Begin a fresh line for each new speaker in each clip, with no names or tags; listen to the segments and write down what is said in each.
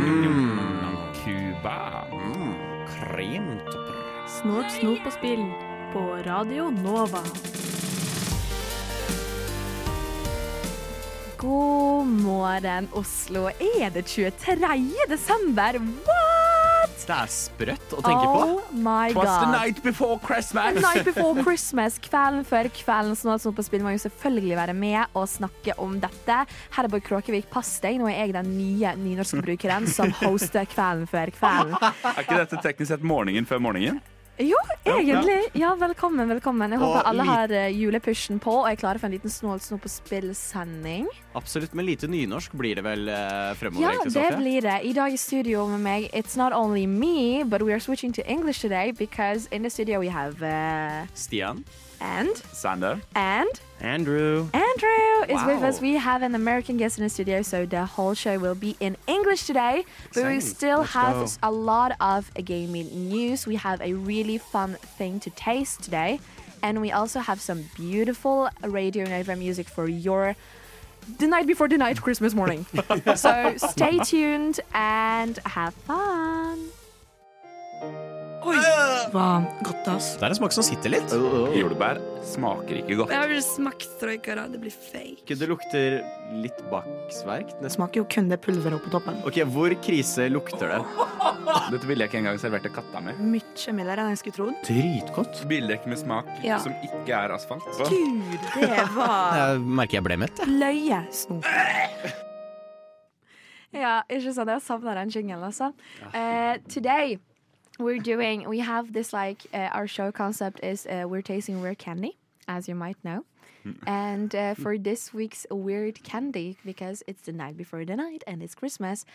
Mm,
Cuba. Kremt.
Snort, snop og spill på Radio Nova.
God morgen, Oslo. Er det 23. desember? What?
Det er sprøtt å tenke på.
Oh my
Twas the
god.
night before Christmas.
Night before Christmas, kvelden før kvelden. Sånn at Snop og Spill må jo selvfølgelig være med og snakke om dette. Herborg Kråkevik, pass deg. Nå er jeg den nye nynorskbrukeren som hoster kvelden før kvelden.
Er ikke dette teknisk sett morgenen før morgenen?
Jo, egentlig. Ja, velkommen, velkommen. Jeg
Og
håper alle
lit-
har eh, julepushen på og er klare for en liten Snålt Snop og Spill-sending.
Absolutt, men lite nynorsk blir det vel eh, fremover?
Ja,
ikke,
det
Sofie?
blir det. I dag i studio med meg It's not only me, but we are switching to English today because in the studio we have uh,
Stian.
and
Sander.
and
Andrew.
Andrew is with
Wow.
us. We have an American guest in the studio, so the whole show will be in English today. But we
Exciting.
still
Let's
have
go.
a lot of gaming news. We have a really fun thing to taste today, and we also have some beautiful Radio Nova music for your the night before the night Christmas morning. so stay tuned and have fun.
Hva? Godt, ass.
Det er en smak som sitter litt.
Jordbær smaker ikke godt.
Jeg har ikke smakt troikere, det blir fake.
Ikke det lukter litt baksverk.
Det
nesten.
smaker jo kun det pulveret oppå toppen.
Ok, Hvor krise lukter det?
Dette ville jeg ikke engang servert til katta mi.
Mye mildere enn jeg skulle trodd.
Dritgodt.
Bildekk med smak
Ja.
som ikke er asfalt. Hva?
Gud, det var
Jeg merker jeg ble mett.
løye snop.
Yeah, it's just that I savner den jinglen, altså. Uh, today we're doing we have this like uh, our show concept is uh, we're tasting weird candy, as you might know. And uh, for this week's weird candy, because it's the night before the night and it's Christmas,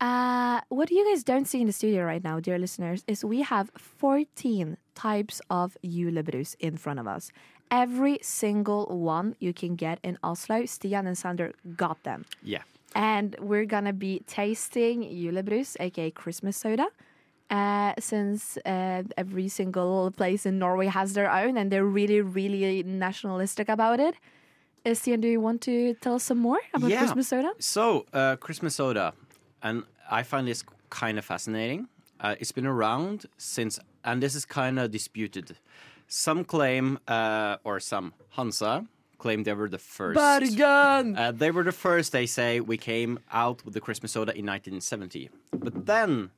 uh, what you guys don't see in the studio right now, dear listeners, is we have 14 types of julebrus in front of us. Every single one you can get in Oslo. Stian and Sander got them.
Yeah.
And we're gonna be tasting julebrus, aka Christmas soda. Uh, since uh, every single place in Norway has their own, and they're really, really nationalistic about it. Uh, Stian, do you want to tell us some more about
Yeah.
Christmas soda?
So, uh, Christmas soda, and I find this kind of fascinating. Uh, it's been around since, and this is kind of disputed. Some claim, uh, or some Hansa claim they were the first. Uh, they were the first, they say, we came out with the Christmas soda in 1970. But then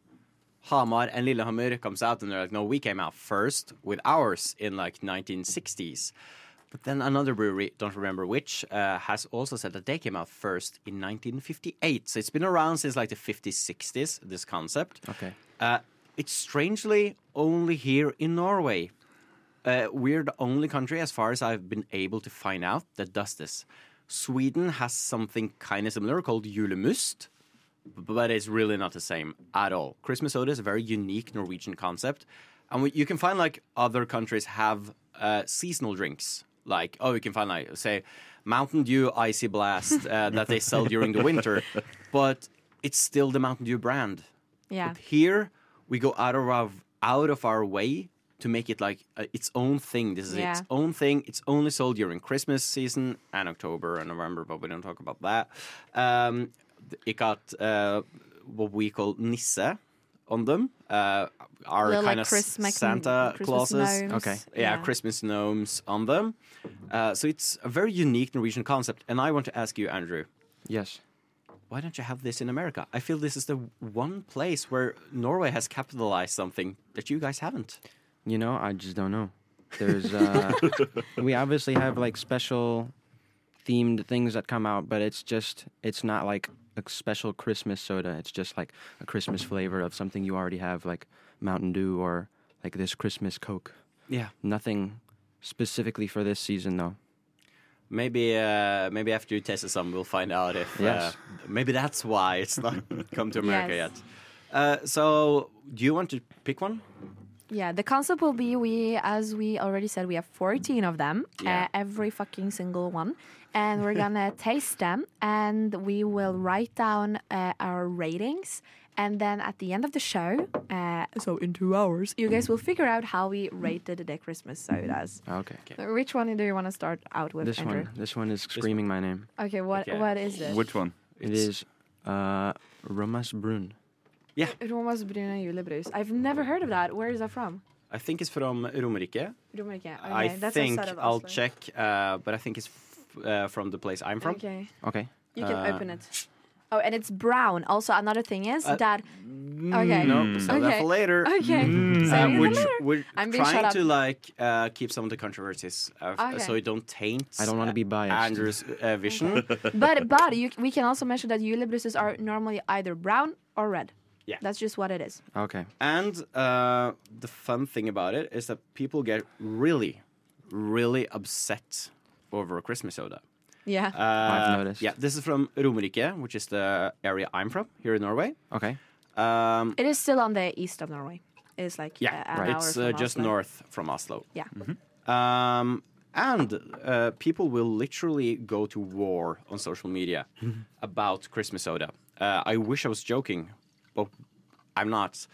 Hamar and Lillehammer comes out and they're like, no, we came out first with ours in like 1960s. But then another brewery, don't remember which, uh, has also said that they came out first in 1958. So it's been around since like the 50s, 60s, this concept.
Okay.
Uh, it's strangely only here in Norway. Uh, we're the only country, as far as I've been able to find out, that does this. Sweden has something kind of similar called julemust, but it's really not the same at all. Christmas soda is a very unique Norwegian concept, and we, you can find like other countries have uh, seasonal drinks. Like oh, you can find like say Mountain Dew Icy Blast uh, that they sell during the winter, but it's still the Mountain Dew brand.
Yeah.
But here we go out of our out of our way to make it like uh, its own thing. This is its
Yeah.
own thing. It's only sold during Christmas season and October and November, but we don't talk about that. Um, th- it got uh, what we call nisse on them. Uh, our
Little,
kind
like
of
Chris Mac-
Santa
Christmas
clauses
gnomes.
Okay.
yeah, Christmas gnomes on them. Uh, so it's a very unique Norwegian concept. And I want to ask you, Andrew,
Yes.
why don't you have this in America? I feel this is the one place where Norway has capitalized something that you guys haven't.
You know, I just don't know. There's uh we obviously have like special themed things that come out, but it's just it's not like a special Christmas soda. It's just like a Christmas flavor of something you already have like Mountain Dew or like this Christmas Coke.
Yeah.
Nothing specifically for this season though.
Maybe uh, maybe after you test some, we'll find out if
Yes.
uh, maybe that's why it's not come to America
Yes.
yet. Uh, so, do you want to pick one?
Yeah, the concept will be we, as we already said, we have 14 of them,
Yeah.
uh, every fucking single one. And we're gonna taste them and we will write down uh, our ratings And then at the end of the show, uh, so in two hours, you guys will figure out how we rated the Christmas sodas.
Okay.
So Uh, Which one do you want to start out with,
This
Andrew?
one. This one is screaming my name.
Okay, what
Okay.
what is it?
Which one?
It is uh, Romas Brun.
Romas brune julebrus. I've never heard of that. Where is that from?
I think it's from Romerike.
Romerike. Okay,
I
that's
think
outside of
I'll
Oslo.
check, uh, but I think it's f- uh, from the place I'm from.
Okay,
Okay.
you can
Uh,
open it. Oh, and it's brown. Also, another thing is
Uh,
that okay,
No,
Hmm.
so that
Okay.
for later.
okay,
Uh,
Save it for
we're
later.
tr- we're
I'm being shut
trying
up.
to like uh, keep some of the controversies uh, f-
Okay.
so it don't taint.
I don't want to be biased.
Andrew's uh, vision.
but but you, we can also mention that julebruses are normally either brown or red.
Yeah.
that's just what it is.
Okay.
and uh, the fun thing about it is that people get really, really upset over Christmas soda.
Yeah.
Uh,
noticed.
Yeah, this is from Romerike, which is the area I'm from here in Norway.
Okay.
Um,
It is still on the east of Norway. It is like
yeah,
uh, an hour
it's
from
uh, just
Oslo.
north Mm-hmm. from Oslo.
Yeah.
Um, and uh, people will literally go to war on social media
Mm-hmm.
about Christmas soda. Uh, I wish I was joking, but I'm not.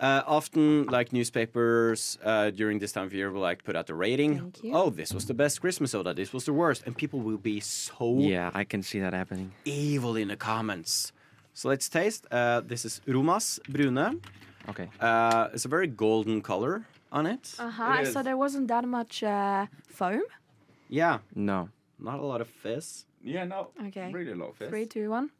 Uh, often, like newspapers uh, during this time of year will like put out the rating.
Thank you.
Oh, this was the best Christmas soda. This was the worst, and people will be so
Yeah, I can see that happening.
evil in the comments. So let's taste. Uh, this is Romas Brune.
Okay.
Uh, it's a very golden color on it.
Uh-huh. I saw there wasn't that much uh, foam.
Yeah,
No.
not a lot of fizz.
Yeah, no.
Okay.
Really low fizz.
Three, two, one.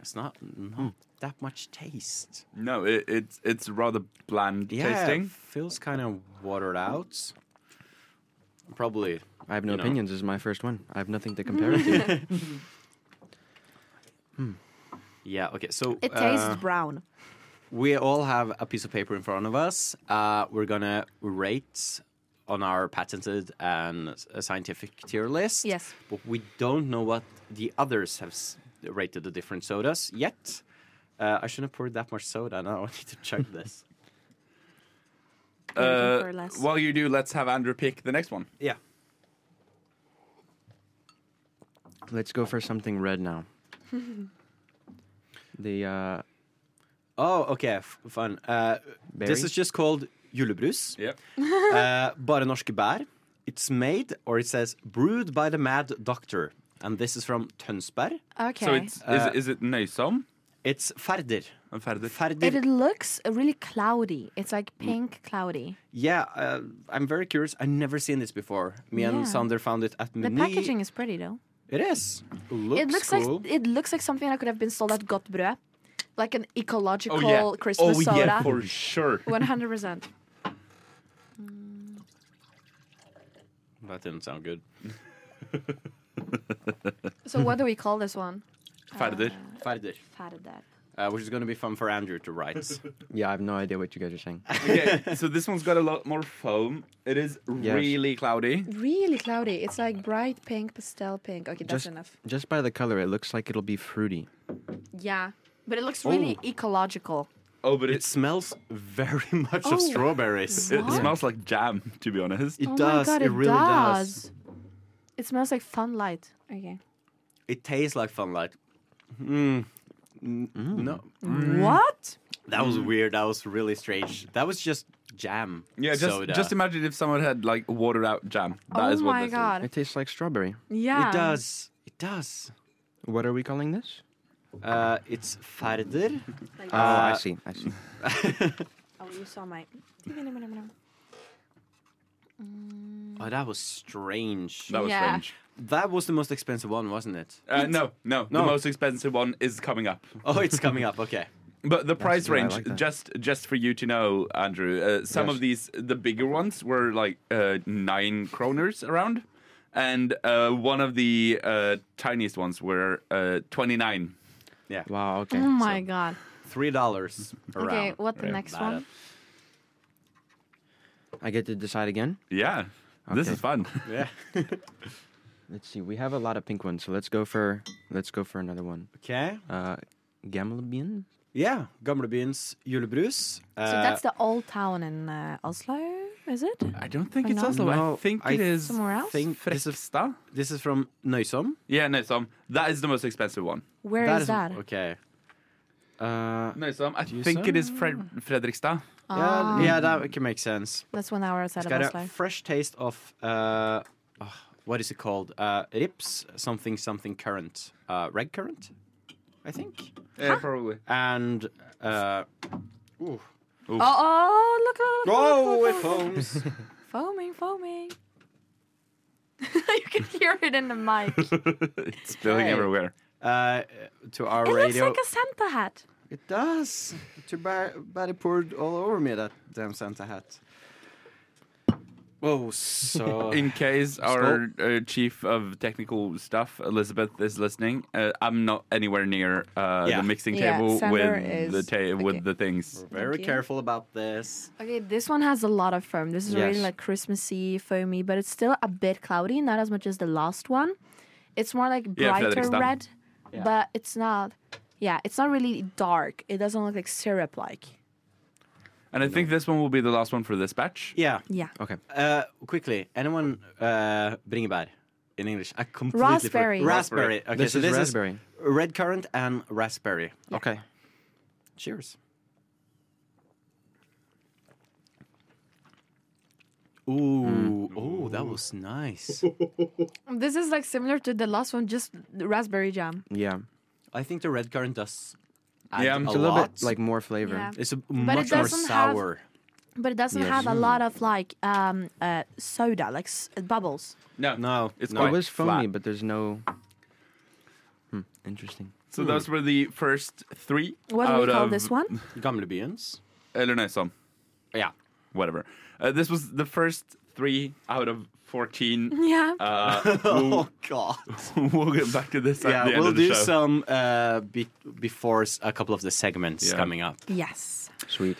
It's not, not that much taste.
No, it, it's it's rather bland
it
tasting.
feels kind of watered out. Probably.
I have no
You know.
opinions. This is my first one. I have nothing to compare it to.
Yeah. Okay. So
It tastes
uh,
brown.
we all have a piece of paper in front of us. Uh, we're gonna rate on our patented and s- uh, scientific tier list.
Yes.
But we don't know what the others have s- rated the different sodas yet. Uh, I shouldn't have poured that much soda. Now I need to chug this.
Looking for
Uh,
less.
while you do, let's have Andrew pick the next one.
Yeah.
Let's go for something red now. the uh,
Oh, okay. F- fun. Uh,
Berry?
this is just called julebrus.
Yep.
Uh, bare norske bær. It's made, or it says, brewed by the mad doctor. And this is from Tønsberg.
Okay.
So it's
Uh,
is, is it nøysom?
It's Ferder.
I'm ferdig.
it,
Ferder.
it looks really cloudy. It's like
Mm.
pink cloudy.
Yeah, uh, I'm very curious. I've never seen this before. Me and
Yeah.
Sander found it at
The
Meny.
packaging is pretty though.
It is. Looks
it looks
cool.
like it looks like something that could have been sold at Gottbrød, like an ecological
Oh yeah.
Christmas
oh yeah,
soda.
for sure.
One hundred percent.
That didn't sound good.
So what do we call this one? Uh,
Ferdig.
Ferder.
Ferdar.
Uh, which is going to be fun for Andrew to write.
yeah, I have no idea what you guys are saying.
okay, so this one's got a lot more foam. It is
Yes.
really cloudy.
Really cloudy. It's like bright pink, pastel pink. Okay, that's
Just-
enough.
Just by the color, it looks like it'll be fruity.
Yeah, but it looks really ecological.
Oh, but
it
it's
smells very much
Oh.
of strawberries.
it
What?
smells like jam, to be honest.
It
oh
does.
my god,
it, really does.
It smells like fun light. Okay.
It tastes like fun light. Mm. N- No,
Mm.
Mm.
What?
that was weird. That was really strange. That was just jam.
Yeah, just
soda.
just imagine if someone had like watered out jam. That
oh
is what
my
this is.
god.
It tastes like strawberry.
yeah.
It does. It does.
What are we calling this?
Uh, it's farder.
Oh, I
Uh,
see. I see.
Oh, you saw my.
Oh, that was strange.
That was
Yeah.
strange.
That was the most expensive one, wasn't it?
Uh, no, no,
No.
The most expensive one is coming up.
Oh, it's coming up. Okay.
But the price
good, I
range,
like that.
just just for you to know, Andrew, uh, some
Yes.
of these, the bigger ones were like uh, nine kroners around, and uh, one of the uh, tiniest ones were uh, twenty nine.
Yeah.
Wow. Okay.
Oh my god.
Three dollars.
Okay, what the next
That
one?
I get to decide again.
Yeah, this
Okay.
is fun.
Yeah.
Let's see. We have a lot of pink ones, so let's go for let's go for another one.
Okay.
Uh, Gamlebian.
Yeah. Gamlebyens julebrus. Uh,
So that's the old town in uh, Oslo. is it?
I don't think
Or
it's
not?
Oslo.
No,
I think
I
it is
Somewhere else?
think this is
Frekstad.
this is from Nøysom.
Yeah, Nøysom. That is the most expensive one.
Where is that?
Okay. Uh,
Nøysom. I
you
think
say?
it is Fred- Fredrikstad.
Ah,
yeah, yeah, that can make sense.
That's one hour outside
It's
of
got
Oslo.
a fresh taste of uh, oh, what is it called? Uh, rips something something current, uh, red current, I think.
Yeah, probably.
And uh,
Oh, oh, look, look, look, look, look,
oh, it
look.
foams.
foaming, foaming. you can hear it in the mic. It
it's spilling
Hey.
everywhere.
uh, to our
looks
radio,
like a Santa hat.
it does. Too bad, bad it poured all over me that damn Santa hat. Whoa, so
In case our uh, chief of technical stuff, Elizabeth, is listening, uh, I'm not anywhere near uh,
Yeah.
the mixing
Yeah,
table
Sander
with
is-
the ta-
okay.
with the things.
very
Thank you.
careful about this.
Okay, this one has a lot of foam. This is really
Yes.
like Christmassy, foamy, but it's still a bit cloudy, not as much as the last one. It's more like
Yeah,
brighter
Fredrikstad.
red, but it's not. Yeah, it's not really dark. It doesn't look like syrup like.
And I think this one will be the last one for this batch.
Yeah.
Yeah.
Okay.
Uh, quickly, anyone uh, bringebær in English? I completely forgot-
Raspberry.
Raspberry. Okay,
This
so
is
this
raspberry.
is red currant and raspberry.
Okay.
Cheers. Ooh, oh, that was nice.
This is like similar to the last one, just raspberry jam.
Yeah.
I think the red currant does add
Yeah,
a,
it's
It's a little
lot.
bit like more flavor.
Yeah.
it's a
it
much more
doesn't have-
sour.
But it doesn't
Yes.
have a lot of like um, uh, soda, like s- uh, bubbles.
No,
No,
it's
no.
quite
It was foamy,
flat.
but there's no. Hmm, interesting.
So those were the first three.
What do
out
we call
of,
this one?
Gamle byens.
Eller nei, some.
Yeah.
whatever. Uh, this was the first three out of 14.
Yeah.
Uh, we'll,
Oh God.
we'll get back to this at
Yeah,
the end
we'll
of the
do
show.
some uh, be- before s- a couple of the segments
Yeah.
coming up.
yes.
Sweet.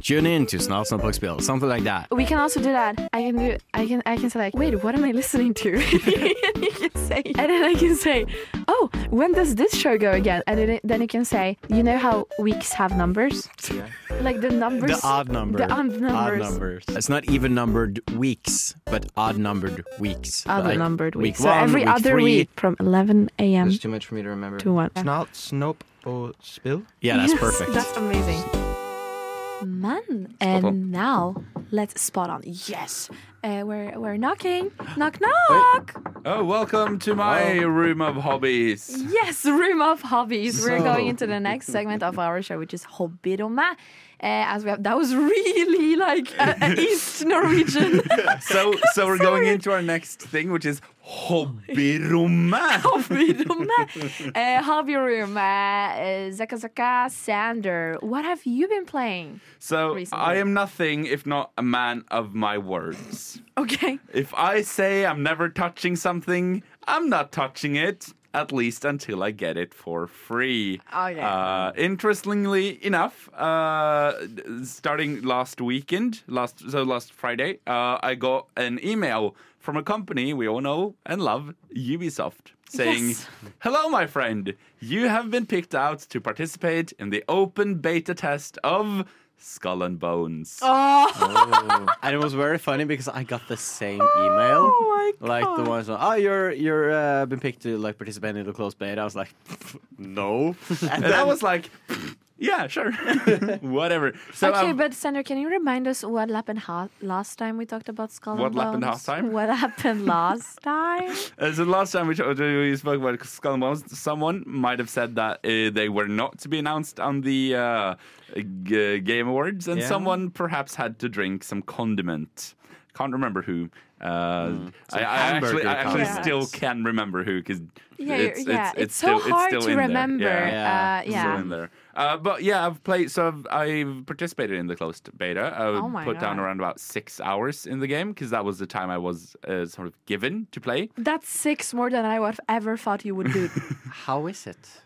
Tune in to Snarl Snarl something like that.
We can also do that. I can do. I can. I can say like, wait, what am I listening to? and you can say, and then I can say, oh, when does this show go again? And then, it- then you can say, you know how weeks have numbers,
Yeah.
like the numbers,
The odd number.
the odd numbers,
numbers. It's not even numbered weeks, but odd numbered weeks.
other
Like
numbered
week
weeks. so
one,
every
week
other
three.
week from 11 a.m.
There's too much for me to remember.
to one.
Snalt, snope, or spill?
Yeah, that's
Yes,
perfect.
That's amazing. Man, and now let's spot on. Yes, uh, we're we're knocking, knock knock.
Oh, welcome to my room of hobbies.
Yes, room of hobbies. We're
So-
going into the next segment of our show, which is Hobbyrommet. Uh, as we have, that was really like a, a East Norwegian.
So, so we're going into our next thing, which is hobbyrommet.
Oh, Hobbyrommet. Uh, Hobbyrommet. Uh, Zaka Zaka Sander. What have you been playing?
So
Recently.
I am nothing if not a man of my words.
Okay.
If I say I'm never touching something, I'm not touching it, at least until I get it for free.
Oh, yeah.
Uh, interestingly enough, uh, d- starting last weekend, last so last Friday, uh, I got an email from a company we all know and love, Ubisoft, saying,
Yes.
"Hello, my friend. You have been picked out to participate in the open beta test of." Skull and Bones.
Oh,
and it was very funny because I got the same email.
Oh my
Like
God.
the ones on, oh, you're you're uh, been picked to like participate in the closed beta. I was like, no. And
And I was like, yeah, sure. Whatever. So
okay,
um,
but Sander, can you remind us what happened ha- last time we talked about Skull
What
and
happened
Bones?
last time?
What happened last time?
uh, so the last time we, talked- we spoke about Skull and Bones, someone might have said that uh, they were not to be announced on the uh, g- Game Awards, and
Yeah.
someone perhaps had to drink some condiment. Can't remember who. Uh, I, I actually,
hamburger
I actually
condiment.
still can remember who because
Yeah,
it's,
you're- yeah,
it's, it's
it's so
still,
hard
it's still
to
in there.
remember,
Yeah.
uh, yeah.
Still in there. Uh, but yeah, I've played. So I've, I've participated in the closed beta. I
Oh my
put down
God.
around about six hours in the game because that was the time I was uh, sort of given to play.
That's six more than I would have ever thought you would do.
how is it?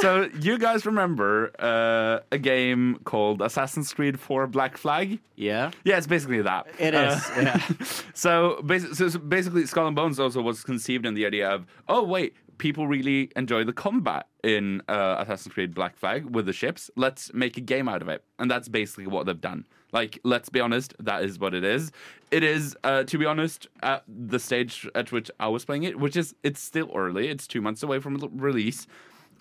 so you guys remember uh, a game called Assassin's Creed 4 Black Flag?
Yeah,
Yeah, it's basically that.
it
Uh,
is. yeah.
so, basi- so so basically, Skull and Bones also was conceived in the idea of, oh wait, people really enjoy the combat in uh, Assassin's Creed Black Flag with the ships. Let's make a game out of it, and that's basically what they've done. Like, let's be honest, that is what it is. It is, uh, to be honest, at the stage at which I was playing it, which is it's still early. It's two months away from l- release.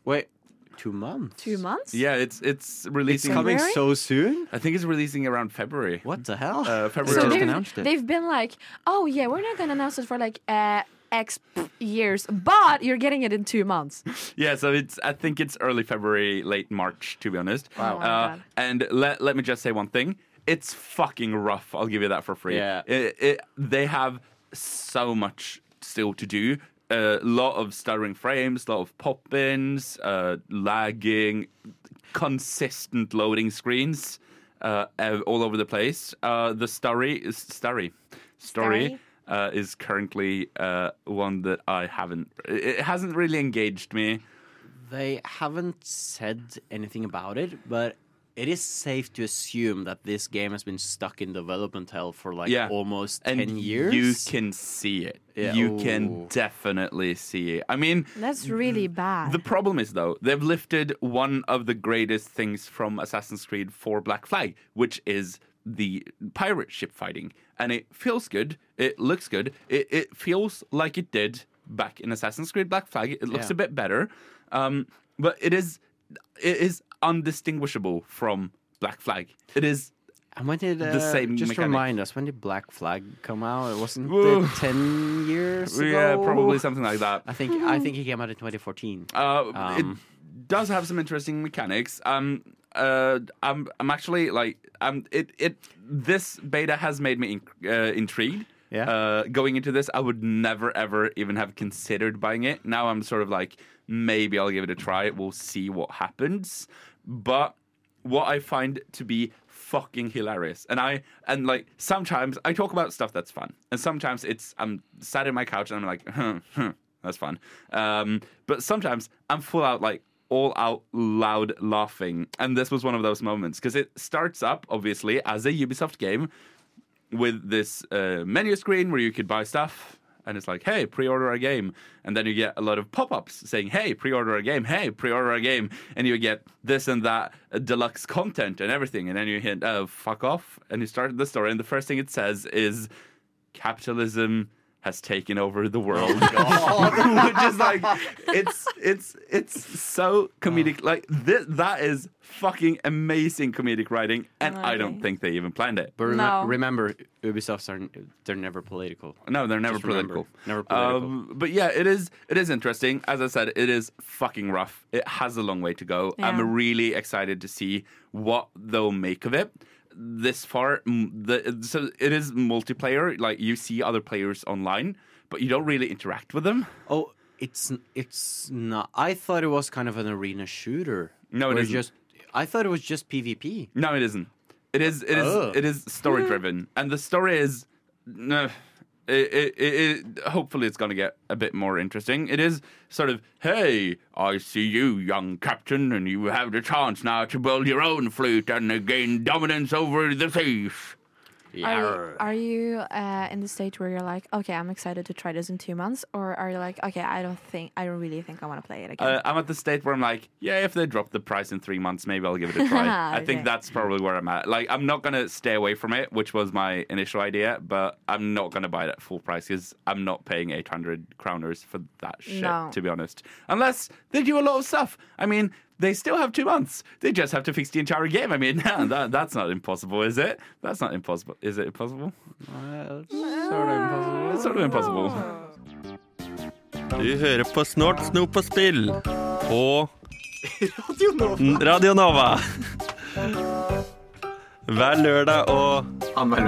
Wait, two months?
Two months?
Yeah, it's it's
It's
releasing.
coming
February?
so soon?
I think it's releasing around February.
What the hell?
Uh,
They
So
February.
just
they've,
announced it.
they've been like, oh yeah, we're not gonna announce it for like uh, X years, but you're getting it in two months.
Yeah, so it's I think it's early February, late March, to be honest.
Wow. Oh my
Uh,
God.
and let let me just say one thing: it's fucking rough. I'll give you that for free.
Yeah.
It, it, they have so much still to do. A lot of stuttering frames, lot of pop-ins, uh, lagging, consistent loading screens uh, ev- all over the place. Uh, the story, story, story
Story.
uh, is currently uh, one that I haven't. It it hasn't really engaged me.
They haven't said anything about it, but it is safe to assume that this game has been stuck in development hell for like
Yeah.
almost
and
10 years.
You can see it.
Yeah.
You
Ooh.
can definitely see it. I mean,
That's really bad.
the problem is though they've lifted one of the greatest things from Assassin's Creed for Black Flag, which is the pirate ship fighting, and it feels good. It looks good. It it feels like it did back in Assassin's Creed Black Flag. It looks
Yeah.
a bit better, um, but it is it is undistinguishable from Black Flag. It is
And when did, uh,
The same
just
mechanic.
remind us, when did Black Flag come out? It wasn't
Woo.
it 10 years ago?
yeah, probably something like that.
I think, I think it came out in 2014.
Uh,
Um,
it does have some interesting mechanics. Um, uh, I'm I'm actually like um, it it this beta has made me in, uh, intrigued.
Yeah.
Uh, going into this, I would never ever even have considered buying it. Now I'm sort of like maybe I'll give it a try. We'll see what happens. But what I find to be fucking hilarious, and I and like sometimes I talk about stuff that's fun, and sometimes it's I'm sat in my couch and I'm like. Huh, huh, that's fun. Um, but sometimes I'm full out, like all out loud laughing. And this was one of those moments because it starts up, obviously, as a Ubisoft game with this uh, menu screen where you could buy stuff. And it's like, hey, pre order a game. And then you get a lot of pop ups saying, hey, pre order a game. Hey, pre order a game. And you get this and that uh, deluxe content and everything. And then you hit, oh, fuck off. And you start the story. And the first thing it says is, capitalism has taken over the world. Which is like it's it's it's so comedic. Like this, that is fucking amazing comedic writing, and I don't
Okay.
think they even planned it.
But remem-
No.
remember, Ubisoft's are they're never political.
No, they're never
Just remember,
political.
never political.
Um, but yeah, it is it is interesting. As I said, it is fucking rough. It has a long way to go.
Yeah.
I'm really excited to see what they'll make of it. This far, m- the, so it is multiplayer. Like you see other players online, but you don't really interact with them.
Oh, it's n- it's not. I thought it was kind of an arena shooter.
No, it
where
isn't.
you just. I thought it was just PvP.
No, it isn't. It is. It is.
Oh.
It is story driven, and the story is. No, it, it, it, it- hopefully it's going to get a bit more interesting. It is sort of, hey, I see you, young captain, and you have the chance now to build your own fleet and gain dominance over the seas.
Are you, are you uh, in the state where you're like, okay, I'm excited to try this in two months, or are you like, okay, I don't think, I don't really think I want to play it again?
Uh, I'm at the state where I'm like, yeah, if they drop the price in three months, maybe I'll give it a try. I think
Okay.
that's probably where I'm at. Like, I'm not going to stay away from it, which was my initial idea, but I'm not going to buy it at full price because I'm not paying 800 crowners for that shit,
No.
to be honest. Unless they do a lot of stuff. I mean, they still have two months. They just have to fix the entire game. I mean, that, that's not impossible, is it? That's not impossible. Is it impossible?
sort of impossible.
It's sort of impossible.
Du hører på Snort, Snop og Spill på Radio Nova. Hver lørdag og Annenhver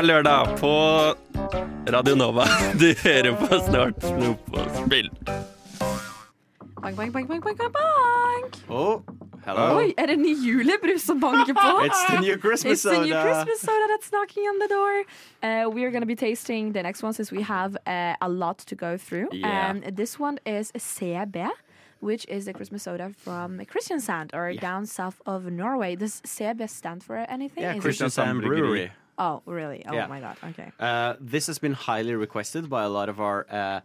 lørdag. lørdag på Radio Nova. Du hører på Snort, Snop og Spill.
Bank, bank, bank, bank, bank, bank, bank.
Oh, hello.
Oi, er det en ny julebrus som banker på?
It's the new Christmas
It's the new
soda.
Christmas soda that's knocking on the door. Uh, we are going to be tasting the next one since we have uh, a lot to go through.
Yeah.
Um, this one is CB, which is the Christmas soda from Kristiansand or down south of Norway. Does CB stand for anything?
Yeah,
Is it-
Christiansand
Christiansand
Brewery.
Brewery.
Oh, really? Oh
Yeah.
my god. Okay.
Uh, this has been highly requested by a lot of our uh,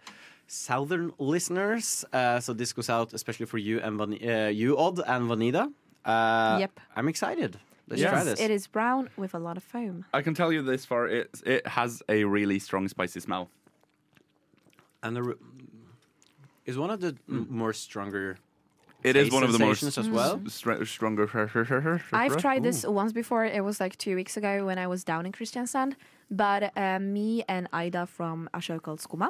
southern listeners. Uh, so this goes out especially for you and Van- uh, you, Odd and Vanida. Uh,
Yep.
I'm excited. Let's
Yes.
try this.
It is brown with a lot of foam.
I can tell you this far, it, it has a really strong spicy smell.
And the ru- is one of the
Mm.
m- more stronger.
It is
taste
one of the most
sensations as well.
str- stronger.
I've tried this once before. It was like two weeks ago when I was down in Kristiansand. But uh, me and Ida from a show called Skuma,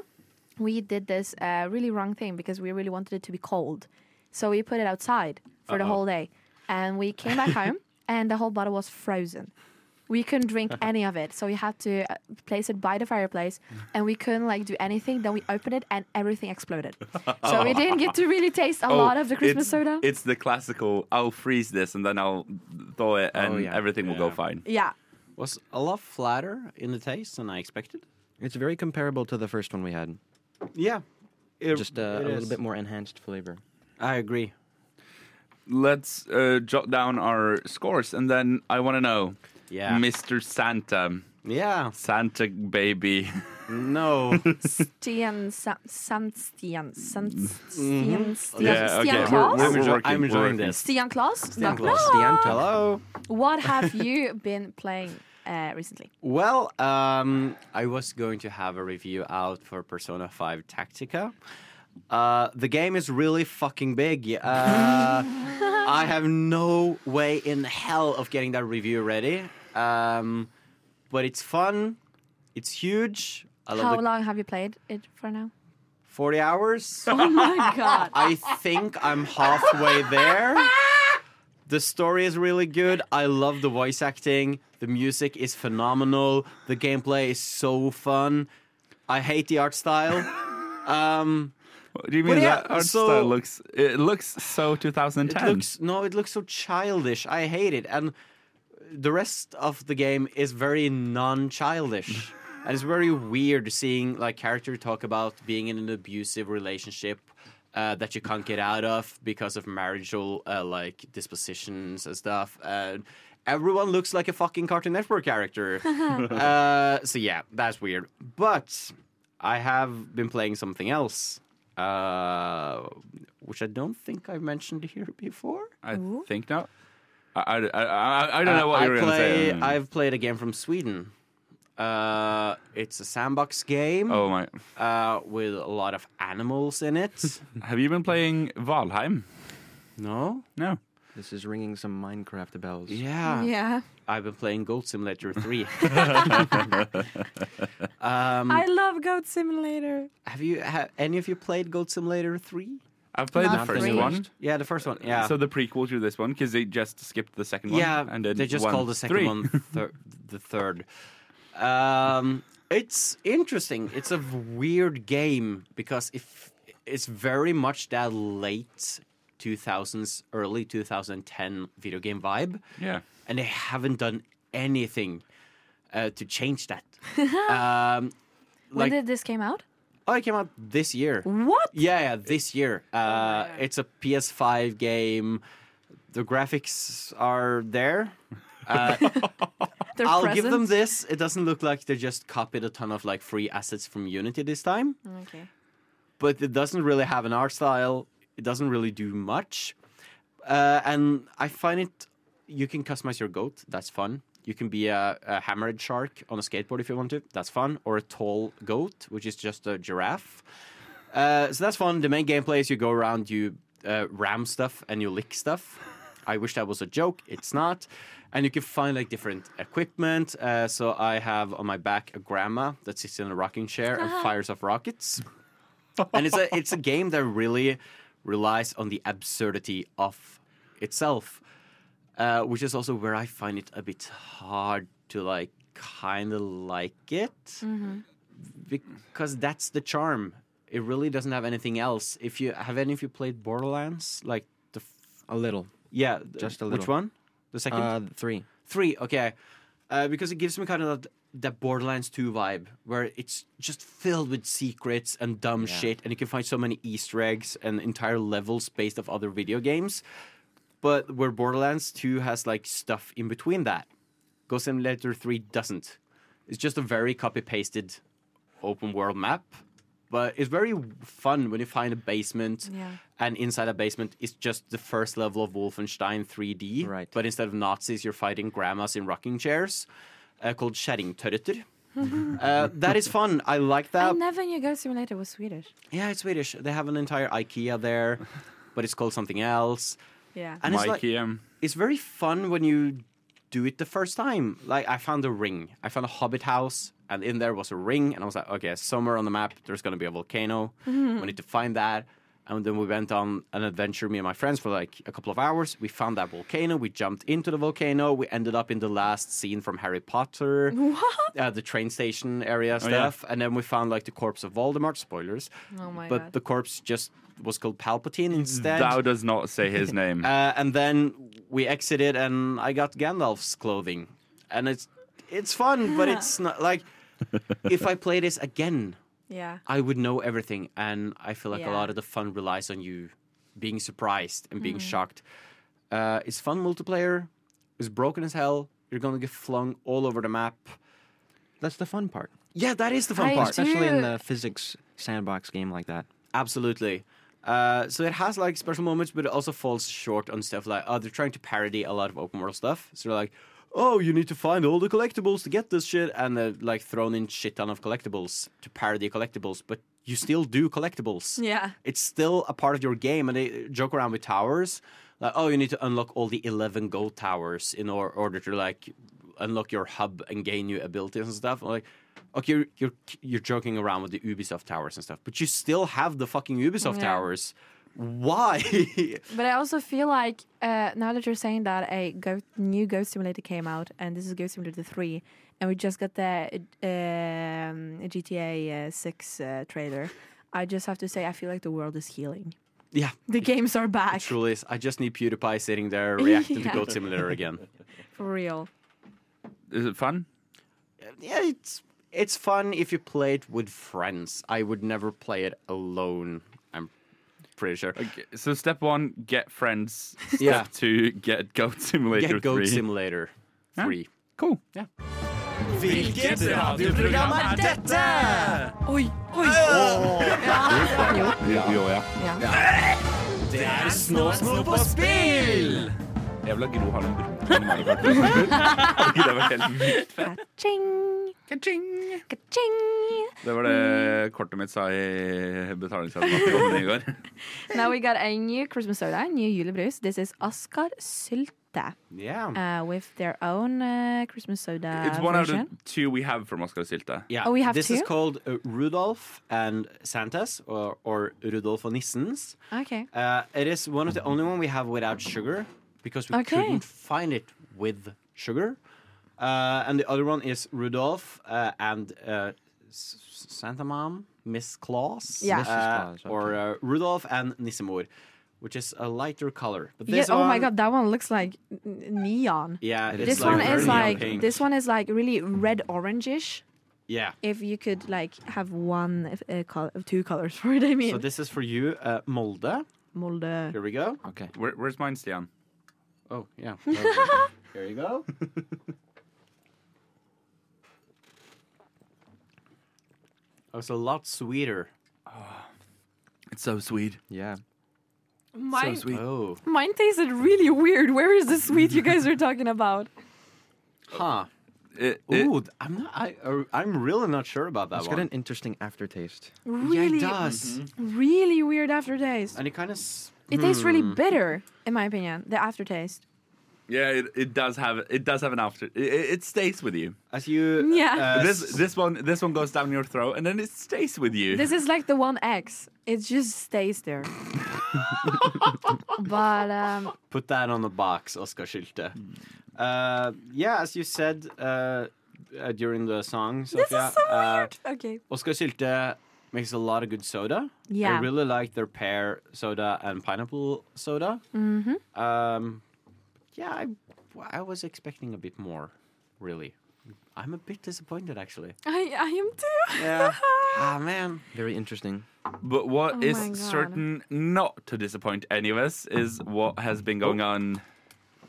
we did this uh, really wrong thing because we really wanted it to be cold. So we put it outside for the
Uh-oh.
whole day. And we came back home and the whole bottle was frozen. We couldn't drink any of it. So we had to uh, place it by the fireplace and we couldn't like do anything. Then we opened it and everything exploded. So we didn't get to really taste
Oh,
a lot of the Christmas
Oh, it's,
soda.
It's the classical. I'll freeze this and then I'll thaw it, and
yeah.
everything will go
Oh, Yeah.
fine.
yeah.
Was a lot flatter in the taste than I expected.
It's very comparable to the first one we had.
Yeah. It-
Just uh,
it
a little
is.
bit more enhanced flavor.
I agree.
Let's uh, jot down our scores, and then I want to know,
Yeah.
Mr. Santa,
Yeah.
Santa baby.
No.
Stian, Sam, Sam Stian, Sam Stian, Stian,
Yeah, okay.
Stian
We're-
Klaus?
we're-
enjoy-
working,
I'm
we're
enjoying
working.
this.
Stian Klaus? Not
Klaus.
Klaus.
Hello.
What have you been playing uh, recently?
Well, um, I was going to have a review out for Persona 5 Tactica. Uh, the game is really fucking big. Uh, I have no way in hell of getting that review ready. Um, but it's fun. It's huge. I love
How
the
long have you played it for now?
40 hours.
Oh my god.
I think I'm halfway there. The story is really good. I love the voice acting. The music is phenomenal. The gameplay is so fun. I hate the art style. Um,
What do you
But
mean
yeah,
that art
so-
style looks? It looks so
it
2010.
looks no, it looks so childish. I hate it. And the rest of the game is very non-childish. and it's very weird seeing like character talk about being in an abusive relationship uh, that you can't get out of because of marital uh, like dispositions and stuff. And everyone looks like a fucking Cartoon Network character. uh, so yeah, that's weird. But I have been playing something else. Uh, which I don't think I mentioned here before.
I think not. I, I, I, I don't know what
I
you're
play,
gonna say. Mm.
I've played a game from Sweden. Uh, it's a sandbox game
oh my!
uh, with a lot of animals in it.
Have you been playing Valheim?
no?
No.
This is ringing some Minecraft bells.
Yeah.
yeah.
I've been playing Goat Simulator 3.
I love Goat Simulator.
have you have any of you played Goat Simulator 3?
I've played
Not
the first
really.
one.
Yeah, the first one. Yeah.
So the prequel to this one because they just skipped the second one.
Yeah,
and did
they just
one,
called the second
three.
one thir- the third. Um, it's interesting. It's a weird game because if it's very much that late 2000s, early 2010 video game vibe,
Yeah.
and they haven't done anything uh, to change that. um,
When
like,
did this came out?
oh, it came out this year.
What? Oh,
Yeah, yeah, this year. Uh, it's a PS5 game. The graphics are there. Uh,
Their
I'll
present?
give them this. It doesn't look like they just copied a ton of like free assets from Unity this time,
Okay.
but it doesn't really have an art style. It doesn't really do much, uh, and I find it. You can customize your goat. That's fun. You can be a, a hammerhead shark on a skateboard if you want to. That's fun. Or a tall goat, which is just a giraffe. Uh, so that's fun. The main gameplay is you go around, you uh, ram stuff, and you lick stuff. I wish that was a joke. It's not. And you can find like different equipment. Uh, so I have on my back a grandma that sits in a rocking chair and fires off rockets. And it's a it's a game that really relies on the absurdity of itself, uh, which is also where I find it a bit hard to like kind of like it because that's the charm. It really doesn't have anything else. If you have any of you played Borderlands, like the f-
A little.
yeah, th-
Just a
Which
little.
one? The second
Uh, three.
three. Okay, uh, because it gives me kind of that, that Borderlands two vibe where it's just filled with secrets and dumb shit, and you can find so many Easter eggs and entire levels based off other video games. But where Borderlands two has like stuff in between that, Ghost Simulator three doesn't. It's just a very copy pasted open world map, but it's very fun when you find a basement.
Yeah.
And inside a basement is just the first level of Wolfenstein 3D.
Right.
But instead of Nazis, you're fighting grandmas in rocking chairs uh, called Kjerringtørreter. uh, that is fun. I like
I
that.
never knew Go Simulator was Swedish.
Yeah, it's Swedish. They have an entire IKEA there, but it's called something else.
Yeah.
And it's like
Mikey, um,
it's very fun when you do it the first time. Like I found a ring. I found a hobbit house and in there was a ring and I was like, okay, somewhere on the map there's gonna be a volcano.
Mm-hmm.
We need to find that. And then we went on an adventure, me and my friends, for like a couple of hours. We found that volcano. We jumped into the volcano. We ended up in the last scene from Harry Potter,
What?
Uh, the train station area
yeah.
stuff. And then we found like the corpse of Voldemort. Spoilers.
Oh my
but
god.
the corpse just was called Palpatine instead.
Thou does not say his name.
Uh, and then we exited, and I got Gandalf's clothing, and it's it's fun, but it's not like if I play this again,
yeah.
I would know everything, and I feel like a
Yeah. Mm.
lot of the fun relies on you being surprised and being shocked. Uh, it's fun multiplayer. It's broken as hell. You're gonna get flung all over the map.
That's the fun part,
Yeah, that is the fun
I
part.
especially in
Dude.
the physics sandbox game like that.
Absolutely. Uh, so it has like special moments, but it also falls short on stuff like oh, they're trying to parody a lot of open world stuff. So they're like, oh, you need to find all the collectibles to get this shit, and they're like thrown in shit ton of collectibles to parody collectibles, but you still do collectibles.
Yeah.
It's still a part of your game, and they joke around with towers. Like, oh, you need to unlock all the eleven gold towers in or- order to like unlock your hub and gain new abilities and stuff. I'm like, okay, you're, you're you're joking around with the Ubisoft towers and stuff, but you still have the fucking Ubisoft
Yeah.
towers. Why?
But I also feel like uh, now that you're saying that a Go- new Ghost Simulator came out, and this is Ghost Simulator 3, and we just got the uh, um, GTA uh, 6 uh, trailer, I just have to say I feel like the world is healing.
yeah,
The games are back.
truly, is. I just need PewDiePie sitting there reacting
Yeah.
to Goat Simulator again.
For real.
Is it fun?
yeah, it's it's fun if you play it with friends. I would never play it alone. I'm pretty sure.
Okay, So step one, get friends. Step
Yeah.
two, get Goat Simulator
Get Goat
three.
Simulator
Ja.
3.
cool.
Hvilket
radioprogram
er dette?
Jo, jo, ja.
Det er Snåsmo på spill!
Jævla Gro har en bror. som er i hvert fall. det var helt vilt.
Ka-ching! Ka-ching!
Det var det kortet mitt sa i betalingsautomaten i går.
Now we got a new Christmas soda, new julebrus. This is Oscar Sylte
Yeah.
uh, with their own uh, Christmas soda
It's one out
version.
of two we have from Oscar Sylte.
Yeah.
Oh, we have
this is
two?
called uh, Rudolf and Santas, or, or Rudolf og Nissens.
Okay.
Uh, it is one of the only one we have without sugar because we
Okay.
couldn't find it with sugar. Uh, and the other one is Rudolph uh, and uh, S- S- Santa Mom, Miss Claus,
Yeah.
Mrs.
uh,
Claus, okay.
or uh, Rudolph and Nissemor, which is a lighter color. But
Yeah,
this
oh my
one-
god, that one looks like n- n- neon.
Yeah,
It
it's
This
like
one
very
is
neon
like
pink.
this one is like really red orangish.
Yeah.
If you could like have one uh, color, two colors for it, I mean.
So this is for you, uh, Molde.
Molde.
Here we go.
Okay.
Where, where's mine, Stian?
Oh yeah. Okay. Here you go. Oh, it's a lot sweeter.
It's so sweet.
Yeah.
Mine,
sweet.
Oh,
mine tasted really weird. Where is the sweet you guys are talking about?
huh.
It, it,
Ooh, I'm not. I, uh, I'm really not sure about that
It's got
one.
an interesting aftertaste.
Really,
Yeah, it does.
really weird aftertaste.
And it kind of. S-
It tastes really
Hmm.
bitter, in my opinion. The aftertaste.
yeah, it, it does have it does have an after. It, it it stays with you.
as you.
Yeah.
Uh,
This this one this one goes down your throat and then it stays with you.
This is like the one X. It just stays there. but um,
Put that on the box, Oscar Schilte. Uh, yeah, as you said uh, uh, during the song, Sofia.
this is so
uh,
weird. Okay.
Oscar Sylte makes a lot of good soda.
Yeah.
I really like their pear soda and pineapple soda. Mm-hmm. Um, yeah, I, I was expecting a bit more, really. I'm a bit disappointed, actually.
I, I am too.
Yeah. ah, man.
Very interesting.
But what
Oh
is
my God.
Oh. certain not to disappoint any of us is what has been going on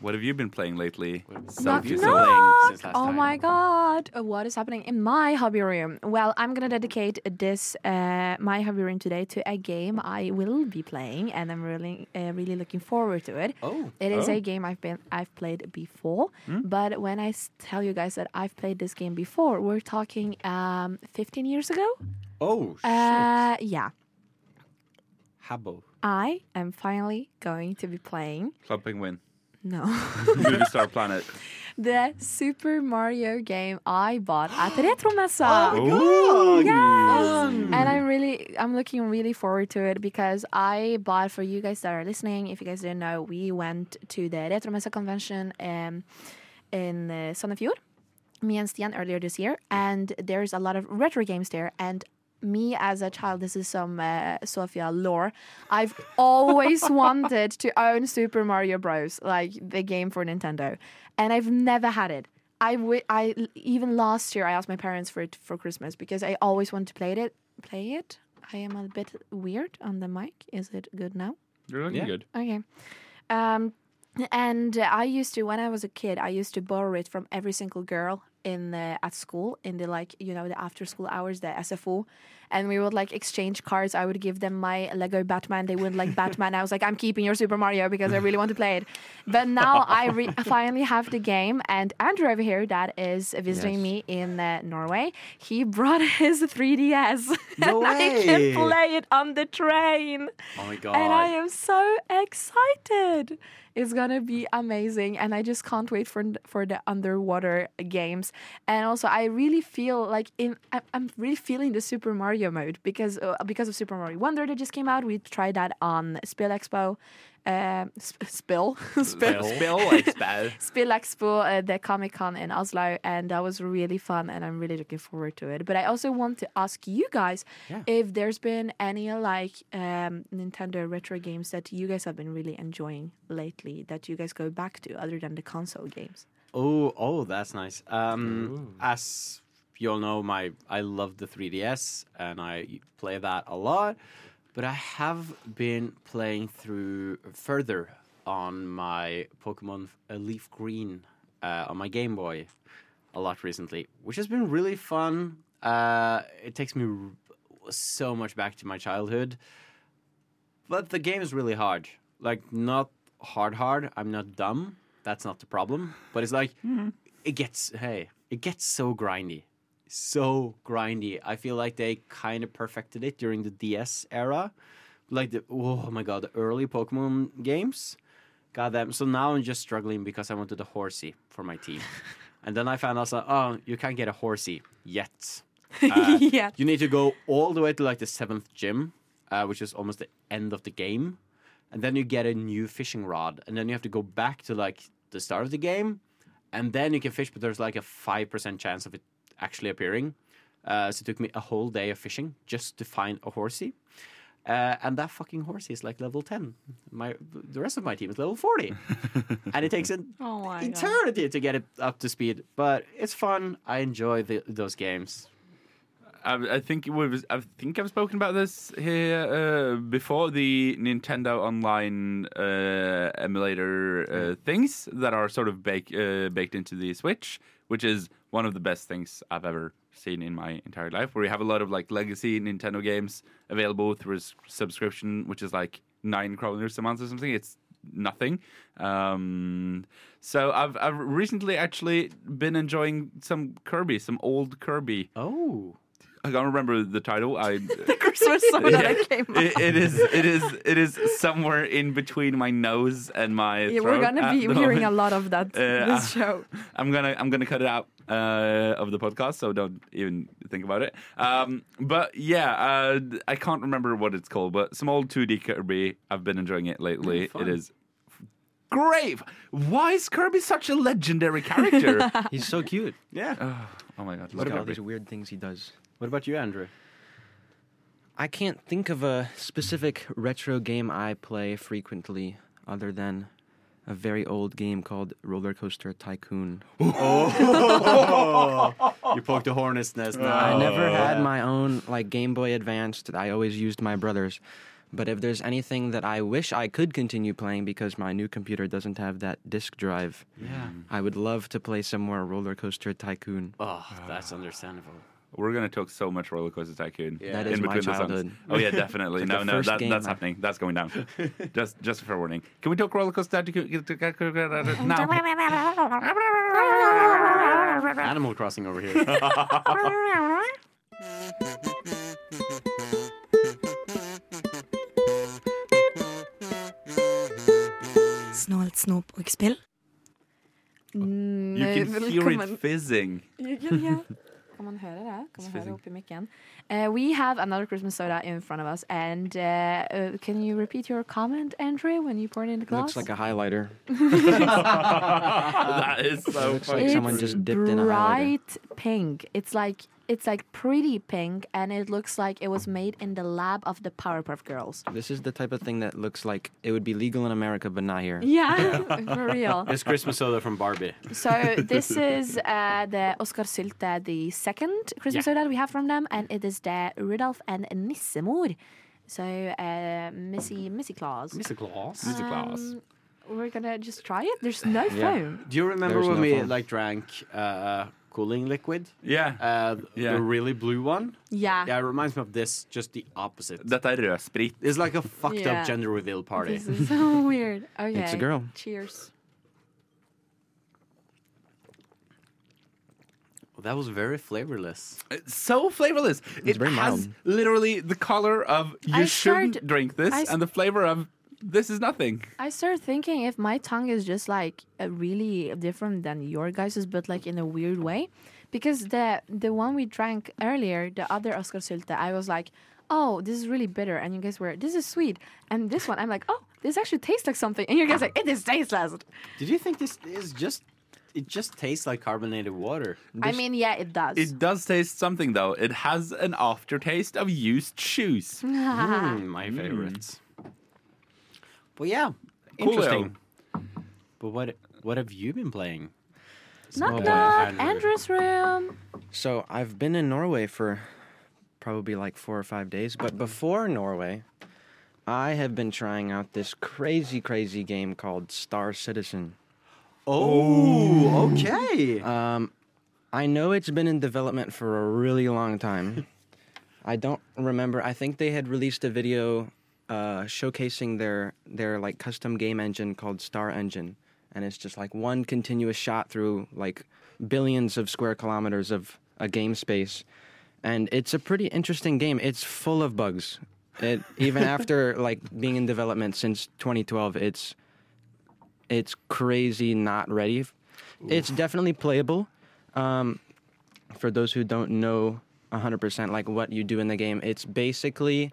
What have you been playing lately?
Knock,
You've
knock.
been since last
Oh
time.
my god! Uh, What is happening in my hobby room? Well, I'm gonna dedicate this uh, my hobby room today to a game I will be playing, and I'm really uh, really looking forward to it.
Oh. Hmm?
It is
Oh.
a game I've been I've played before, but when I s- tell you guys that I've played this game before, we're talking um, 15 years ago.
Oh, shit.
Uh, yeah,
Habbo.
I am finally going to be playing.
Club Penguin,
No.
Movie Star Planet.
the Super Mario game I bought at Retromessa.
Oh,
Yes! And I'm really, I'm looking really forward to it because I bought for you guys that are listening. If you guys didn't know, we went to the Retromessa convention um, in uh, Sandefjord, me and Stian earlier this year, and there's a lot of retro games there. And me as a child, this is some uh, Sofia lore. I've always wanted to own Super Mario Bros, like the game for Nintendo, and I've never had it. I wi- I even last year I asked my parents for it for Christmas because I always wanted to play it. Play it. I am a bit weird on the mic. Is it good now?
You're looking
Yeah.
good.
Okay. Um, and uh, I used to when I was a kid, I used to borrow it from every single girl in the, at school in the like you know the after school hours, the SFO, and we would like exchange cards. I would give them my Lego Batman. They wouldn't like Batman. I was like, I'm keeping your Super Mario because I really want to play it. But now I re- finally have the game, and Andrew over here that is visiting
Yes.
me in uh, Norway, he brought his 3DS,
No
and I can
way.
play it on the train.
Oh my god.
And I am so excited. It's gonna be amazing, and I just can't wait for for the underwater games. And also, I really feel like in I- I'm really feeling the Super Mario mode because uh, because of Super Mario Wonder that just came out. We tried that on Spill Expo, uh, sp- Spill Spill
Spill like spell.
Spill Expo, uh, the Comic Con in Oslo, and that was really fun, and I'm really looking forward to it. But I also want to ask you guys if there's been any like um, Nintendo retro games that you guys have been really enjoying lately that you guys go back to, other than the console games.
Oh, oh, that's nice. Um, as you all know, my I love the 3DS and I play that a lot. But I have been playing through further on my Pokemon uh, Leaf Green uh, on my Game Boy a lot recently, which has been really fun. Uh, it takes me r- so much back to my childhood. But the game is really hard. Like not hard hard. I'm not dumb. That's not the problem. But it's like it gets hey, it gets so grindy. So grindy. I feel like they kind of perfected it during the DS era. Like the oh my god, the early Pokemon games. God damn. So now I'm just struggling because I wanted a horsey for my team. and then I found out so, oh, you can't get a horsey yet. Uh,
yeah.
you need to go all the way to like the seventh gym, uh, which is almost the end of the game, and then you get a new fishing rod, and then you have to go back to like the start of the game, and then you can fish. But there's like a five percent chance of it actually appearing. Uh, so it took me a whole day of fishing just to find a horsey. Uh, and that fucking horsey is like level 10. My The rest of my team is level 40. and it takes an
Oh my God.
eternity to get it up to speed. But it's fun. I enjoy the, those games.
I, I think it was, I think I've spoken about this here uh, before the Nintendo Online uh, emulator uh, things that are sort of bake, uh, baked into the Switch, which is one of the best things I've ever seen in my entire life. Where you have a lot of like legacy Nintendo games available through a s- subscription, which is like nine kroners a month or something. It's nothing. Um, so I've I've recently actually been enjoying some Kirby, some old Kirby.
Oh.
I can't remember the title. I
Christmas soda
Yeah.
that came out.
it, it is it is it is somewhere in between my nose and my.
Yeah, we're
throat
gonna
at
be
the
hearing a
moment.
lot of that
Uh,
this show.
I'm gonna I'm gonna cut it out uh, of the podcast, so don't even think about it. Um, but yeah, uh, I can't remember what it's called, but some old 2D Kirby. I've been enjoying it lately.
fun.
it is great. Why is Kirby such a legendary character?
He's so cute.
Yeah.
oh, oh my god, love
Look at all
Kirby.
these weird things he does.
Uh, What about you, Andrew?
I can't think of a specific retro game I play frequently other than a very old game called Roller Coaster Tycoon.
You poked a hornet's nest.
Oh,
I never had my own like Game Boy Advance. that I always used my brother's. But if there's anything that I wish I could continue playing because my new computer doesn't have that disk drive,
Yeah.
I would love to play some more Roller Coaster Tycoon.
Oh, that's understandable.
We're gonna talk so much Roller Coaster Tycoon
Yeah. That
is
in
my
between the songs.
childhood.
Oh yeah, definitely.
It's like
no,
the
no,
first
that,
game
that's
I-
happening. That's going down. just, just for warning. Can we talk Roller Coaster Tycoon now?
Animal Crossing over here.
Snålt snop og spill.
Mm,
You can hear
velkommen.
it fizzing.
You can, yeah. Kan man høre det? Kan man høre det oppi mikken? Eh, we have another Christmas soda in front of us, and uh, uh, can you repeat your comment, Andrew, when you pour it in the glass?
Looks like a highlighter.
Ah, that is so
looks
funny.
like
it's
someone just dipped
bright
in a highlighter.
pink. It's like it's like pretty pink, and it looks like it was made in the lab of the Powerpuff Girls.
This is the type of thing that looks like it would be legal in America, but not here.
Yeah, for real.
It's Christmas soda from Barbie.
So this is uh, the Oscar Sylte, the second Christmas soda we have from them, and it is the Rudolph and Nissemor. So uh, Missy Missy Claus.
Mr. Claus.
Music class.
Um, We're gonna just try it. There's no phone.
Do you remember
There's
when
no
we
phone.
like drank uh, cooling liquid?
Yeah.
Uh,
Yeah.
The really blue one?
Yeah.
Yeah, it reminds me of this, just the opposite.
Dette er rødsprit.
It's like a fucked
Yeah.
up gender reveal party.
This is so weird. Okay.
It's a girl.
Cheers.
Oh, That was very flavorless.
It's so flavorless. it
very
has
mild.
literally the color of you
I
shouldn't
started-
drink this,
I s-
and the flavor of this is nothing.
I started thinking if my tongue is just like uh, really different than your guys's, but like in a weird way, because the the one we drank earlier, the other Oscar Sylte, I was like, oh, this is really bitter, and you guys were, this is sweet, and this one, I'm like, oh, this actually tastes like something, and you guys are like, it is tasteless.
Did you think this is just? It just tastes like carbonated water.
I mean, yeah, it does.
It does taste something though. It has an aftertaste of used shoes.
Mm, my favorites. But yeah,
Coolio.
interesting. But what what have you been playing?
knock
boy,
knock,
Andrew.
Andrew's room.
So I've been in Norway for probably like four or five days, but before Norway, I have been trying out this crazy, crazy game called Star Citizen.
Oh, okay.
Um, I know it's been in development for a really long time. I don't remember. I think they had released a video uh, showcasing their their like custom game engine called Star Engine, and it's just like one continuous shot through like billions of square kilometers of a game space, and it's a pretty interesting game. It's full of bugs. It, even after like being in development since 2012, it's it's crazy not ready. It's definitely playable. Um, for those who don't know 100% like what you do in the game, it's basically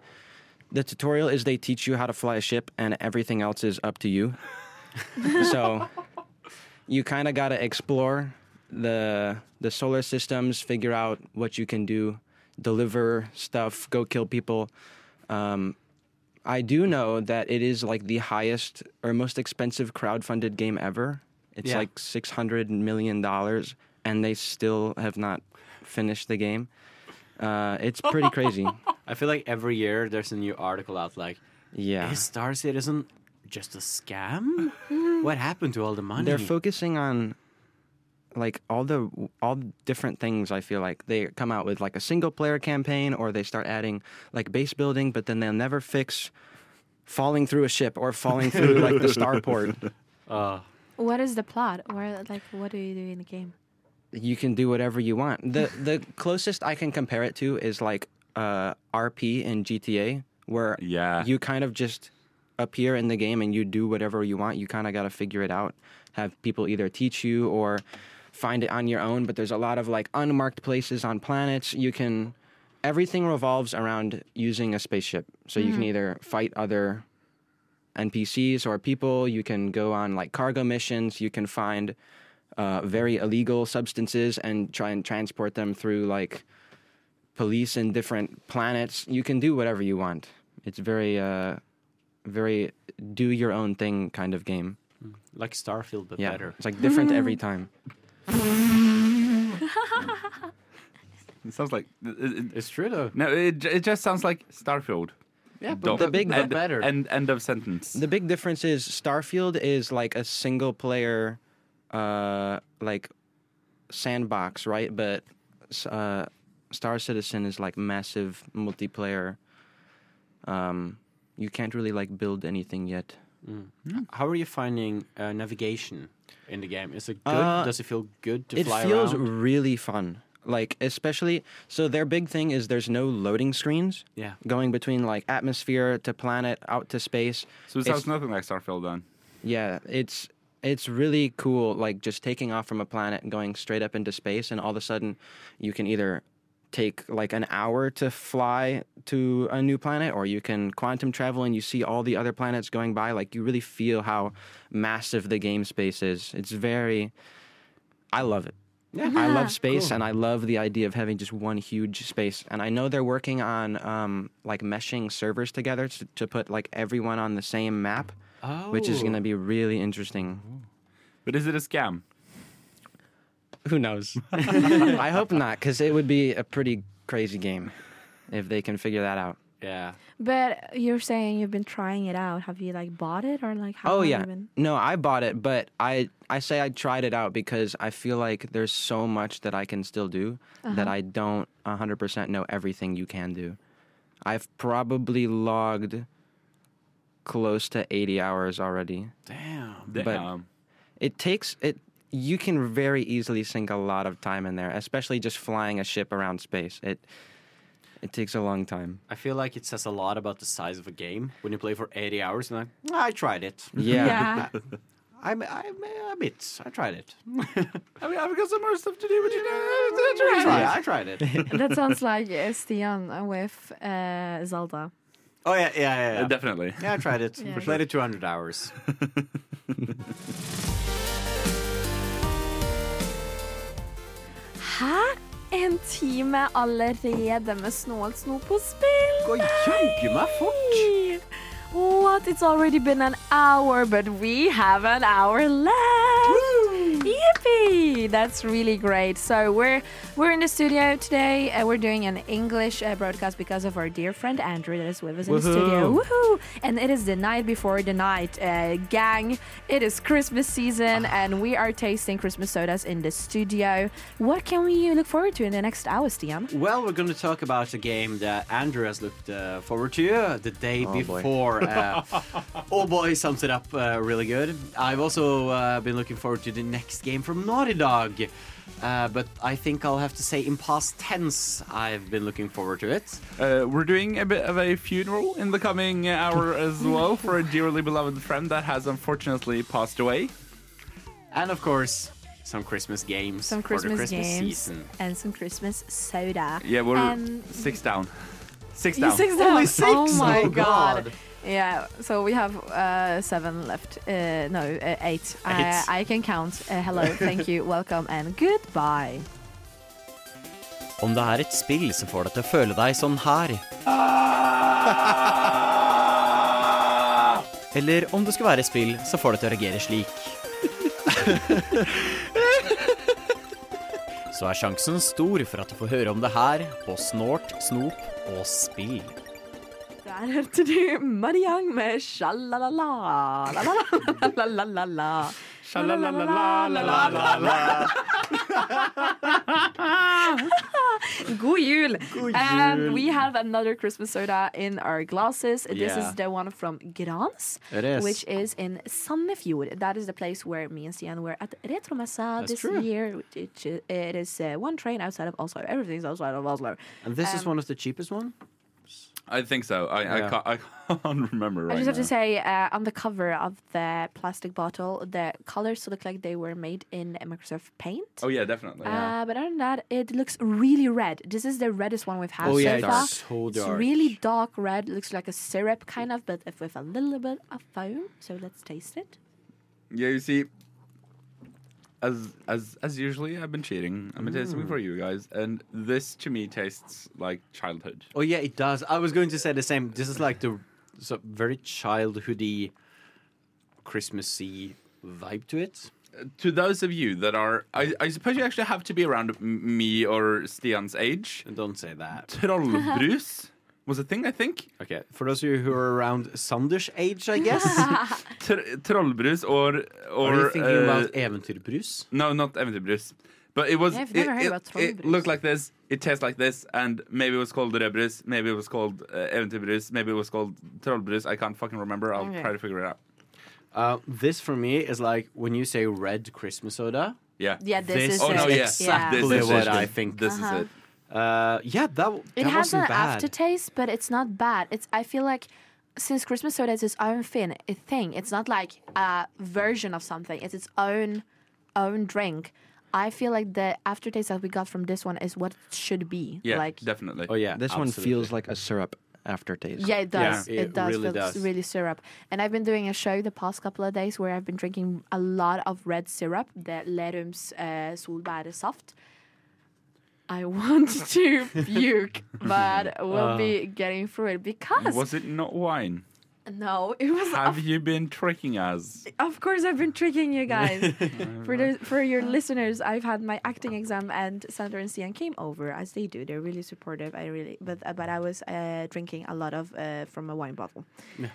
the tutorial is they teach you how to fly a ship and everything else is up to you. so you kind of got to explore the the solar systems, figure out what you can do, deliver stuff, go kill people. Um, I do know that it is like the highest or most expensive crowdfunded game ever. It's
Yeah.
like six hundred million dollars, and they still have not finished the game. Uh, it's pretty crazy.
I feel like every year there's a new article out like,
Yeah,
is Star Citizen just a scam? what happened to all the money?
they're focusing on like all the all different things i feel like they come out with like a single player campaign or they start adding like base building but then they'll never fix falling through a ship or falling through like the starport
Uh,
What is the plot? Or like, what do you do in the game?
you can do whatever you want the the closest i can compare it to is like uh rp in gta where
Yeah.
you kind of just appear in the game and you do whatever you want. You kind of got to figure it out. Have people either teach you or find it on your own. But there's a lot of like unmarked places on planets. You can everything revolves around using a spaceship. So you can either fight other NPCs or people. You can go on like cargo missions. You can find uh, very illegal substances and try and transport them through like police in different planets. You can do whatever you want. It's very, uh, very do your own thing kind of game.
like Starfield, but
Yeah,
better.
it's like different every time.
It sounds like it- it-
It's true though.
no. It, it just sounds like Starfield.
Yeah,
Don't-
the big-
end,
better.
End, end of sentence.
The big difference is Starfield is like a single player, uh, like sandbox, right? But uh, Star Citizen is like massive multiplayer. Um, you can't really like build anything yet.
How are you finding uh, navigation in the game? Is it good?
Uh,
Does it feel good to
it
fly
feels
around?
really fun. Like especially so their big thing is there's no loading screens.
Yeah.
Going between like atmosphere to planet out to space.
so it
It's-
sounds nothing like Starfield then.
Yeah, it's it's really cool. Like just taking off from a planet, and going straight up into space, and all of a sudden, you can either take like an hour to fly to a new planet, or you can quantum travel and you see all the other planets going by. Like you really feel how massive the game space is. It's very, I love it. Yeah. I love space and I love the idea of having just one huge space. And I know they're working on um, like meshing servers together to, to put like everyone on the same map, which is
Oh.
going to be really interesting.
But is it a scam?
Who knows? I hope not, because it would be a pretty crazy game if they can figure that out.
Yeah.
But you're saying you've been trying it out. Have you like bought it or like? How
Oh
have
yeah,
you been-
no, I bought it, but I I say I tried it out because I feel like there's so much that I can still do that I don't 100% know everything you can do. I've probably logged close to 80 hours already.
Damn.
Damn.
It takes it. You can very easily sink a lot of time in there, especially just flying a ship around space. It it takes a long time.
I feel like it says a lot about the size of a game when you play for 80 hours and I, I tried it.
Yeah.
I'm, I'm a bit. I tried it.
I mean, I've got some more stuff to do. But you know,
I tried it. I tried it.
that sounds like uh, Stian with uh, Zelda.
oh, yeah, yeah, yeah. Yeah,
definitely.
Yeah, I tried it.
Yeah.
Played it 200 hours.
Hæ? En time allerede med snålsnop på spill?
Gå jaggu meg fort!
What? It's already been an hour, but we have an hour left. Yippee! That's really great. So we're we're in the studio today. Uh, we're doing an English uh, broadcast because of our dear friend Andrew that is with us in the studio. Woohoo! And it is the night before the night, uh, gang. It is Christmas season, and we are tasting Christmas sodas in the studio. What can we look forward to in the next hour, Stian?
Well, we're going to talk about a game that Andrew has looked uh, forward to uh, the
Oh,
day before. Uh, oh boy, sums it up uh, really good. I've also uh, been looking forward to the next game from Naughty Dog, uh, but I think I'll have to say in past tense, I've been looking forward to it.
Uh, we're doing a bit of a funeral in the coming hour as well for a dearly beloved friend that has unfortunately passed away.
And of course, some Christmas games
Some
for the
Christmas
Christmas
games
season.
and some Christmas soda.
Yeah, we're
Um,
six down. Six
You
down.
six down.
Only six?
Oh my
Oh,
god.
God.
Yeah, so we have uh, seven left. Uh, no, uh, eight. I,
Eight.
I can count. Uh, hello, thank you, welcome, and goodbye.
Om det er et spill som får deg til å føle deg sånn her Ah! Eller om det skulle være et spill som får deg til å reagere slik Så er sjansen stor for at du får høre om det her på Snort, Snop og Spill.
Der hørte du Muddy Young med sjalalala. la-la-la-la-la-la-la. God jul! Um, we have another Christmas soda in our glasses. This
Yeah.
is the one from Grans,
It is.
which is in Sandefjord. That is the place where me and Stian were at Retromessa this
true.
year. It, it is uh, one train outside of Oslo. Everything's outside of Oslo.
And this is one of the cheapest one?
I think so. I, I,
Yeah.
can't, I can't remember right
I just have
now.
to say, uh, on the cover of the plastic bottle, the colors look like they were made in Microsoft Paint.
oh yeah, definitely.
Uh, but other than that, it looks really red. This is the reddest one we've had
Oh,
so
yeah, it's
far.
so
It's
dark.
really dark red. Looks like a syrup kind of, but if with a little bit of foam. So let's taste it.
Yeah, you see, as as as usually, I've been cheating. I've been
Mm.
tasting for you guys, and this to me tastes like childhood.
Oh yeah, it does. I was going to say the same. This is like the so very childhoody, Christmassy vibe to it.
To those of you that are, I, I suppose you actually have to be around m- me or Stian's age.
Don't say that.
Trollbrus was a thing, I think.
Okay, For those of you who are around Sanders' age, I guess.
Tr- trollbrus or or
are you thinking
uh,
about eventyrbrus?
No, not eventyrbrus. But it was.
Yeah, I've
it,
never heard
it-
about
It
trollbrus.
looked like this. It tastes like this, and maybe it was called rødbrus. Maybe it was called uh, eventyrbrus. Maybe it was called trollbrus. I can't fucking remember. I'll
Okay.
try to figure it out.
Uh, this for me is like when you say red Christmas soda.
Yeah.
Yeah, this,
This-
is
Oh
it.
no!
is
Yeah.
Yeah.
This
This
is
is
it.
what I think.
This
Uh-huh.
is it.
Uh, yeah, that w-
It
that
has an
wasn't bad.
aftertaste, but it's not bad. It's I feel like since Christmas soda is its own thing, a thing. It's not like a version of something. It's its own own drink. I feel like the aftertaste that we got from this one is what it should be.
Yeah,
like
definitely.
oh yeah,
This
absolutely.
one feels like a syrup aftertaste.
yeah, it does.
Yeah,
it,
it
does.
really
feels
does.
really syrup. And I've been doing a show the past couple of days where I've been drinking a lot of red syrup, the Lerums uh, solbærsaft. I want to puke, but we'll
Oh.
be getting through it because
Was it not wine?
No, it was.
Have
Of,
you been tricking us?
of course, I've been tricking you guys. for the, for your listeners, I've had my acting exam, and Sandra and Sian came over as they do. They're really supportive. I really, but but I was uh, drinking a lot of uh, from a wine bottle. Uh,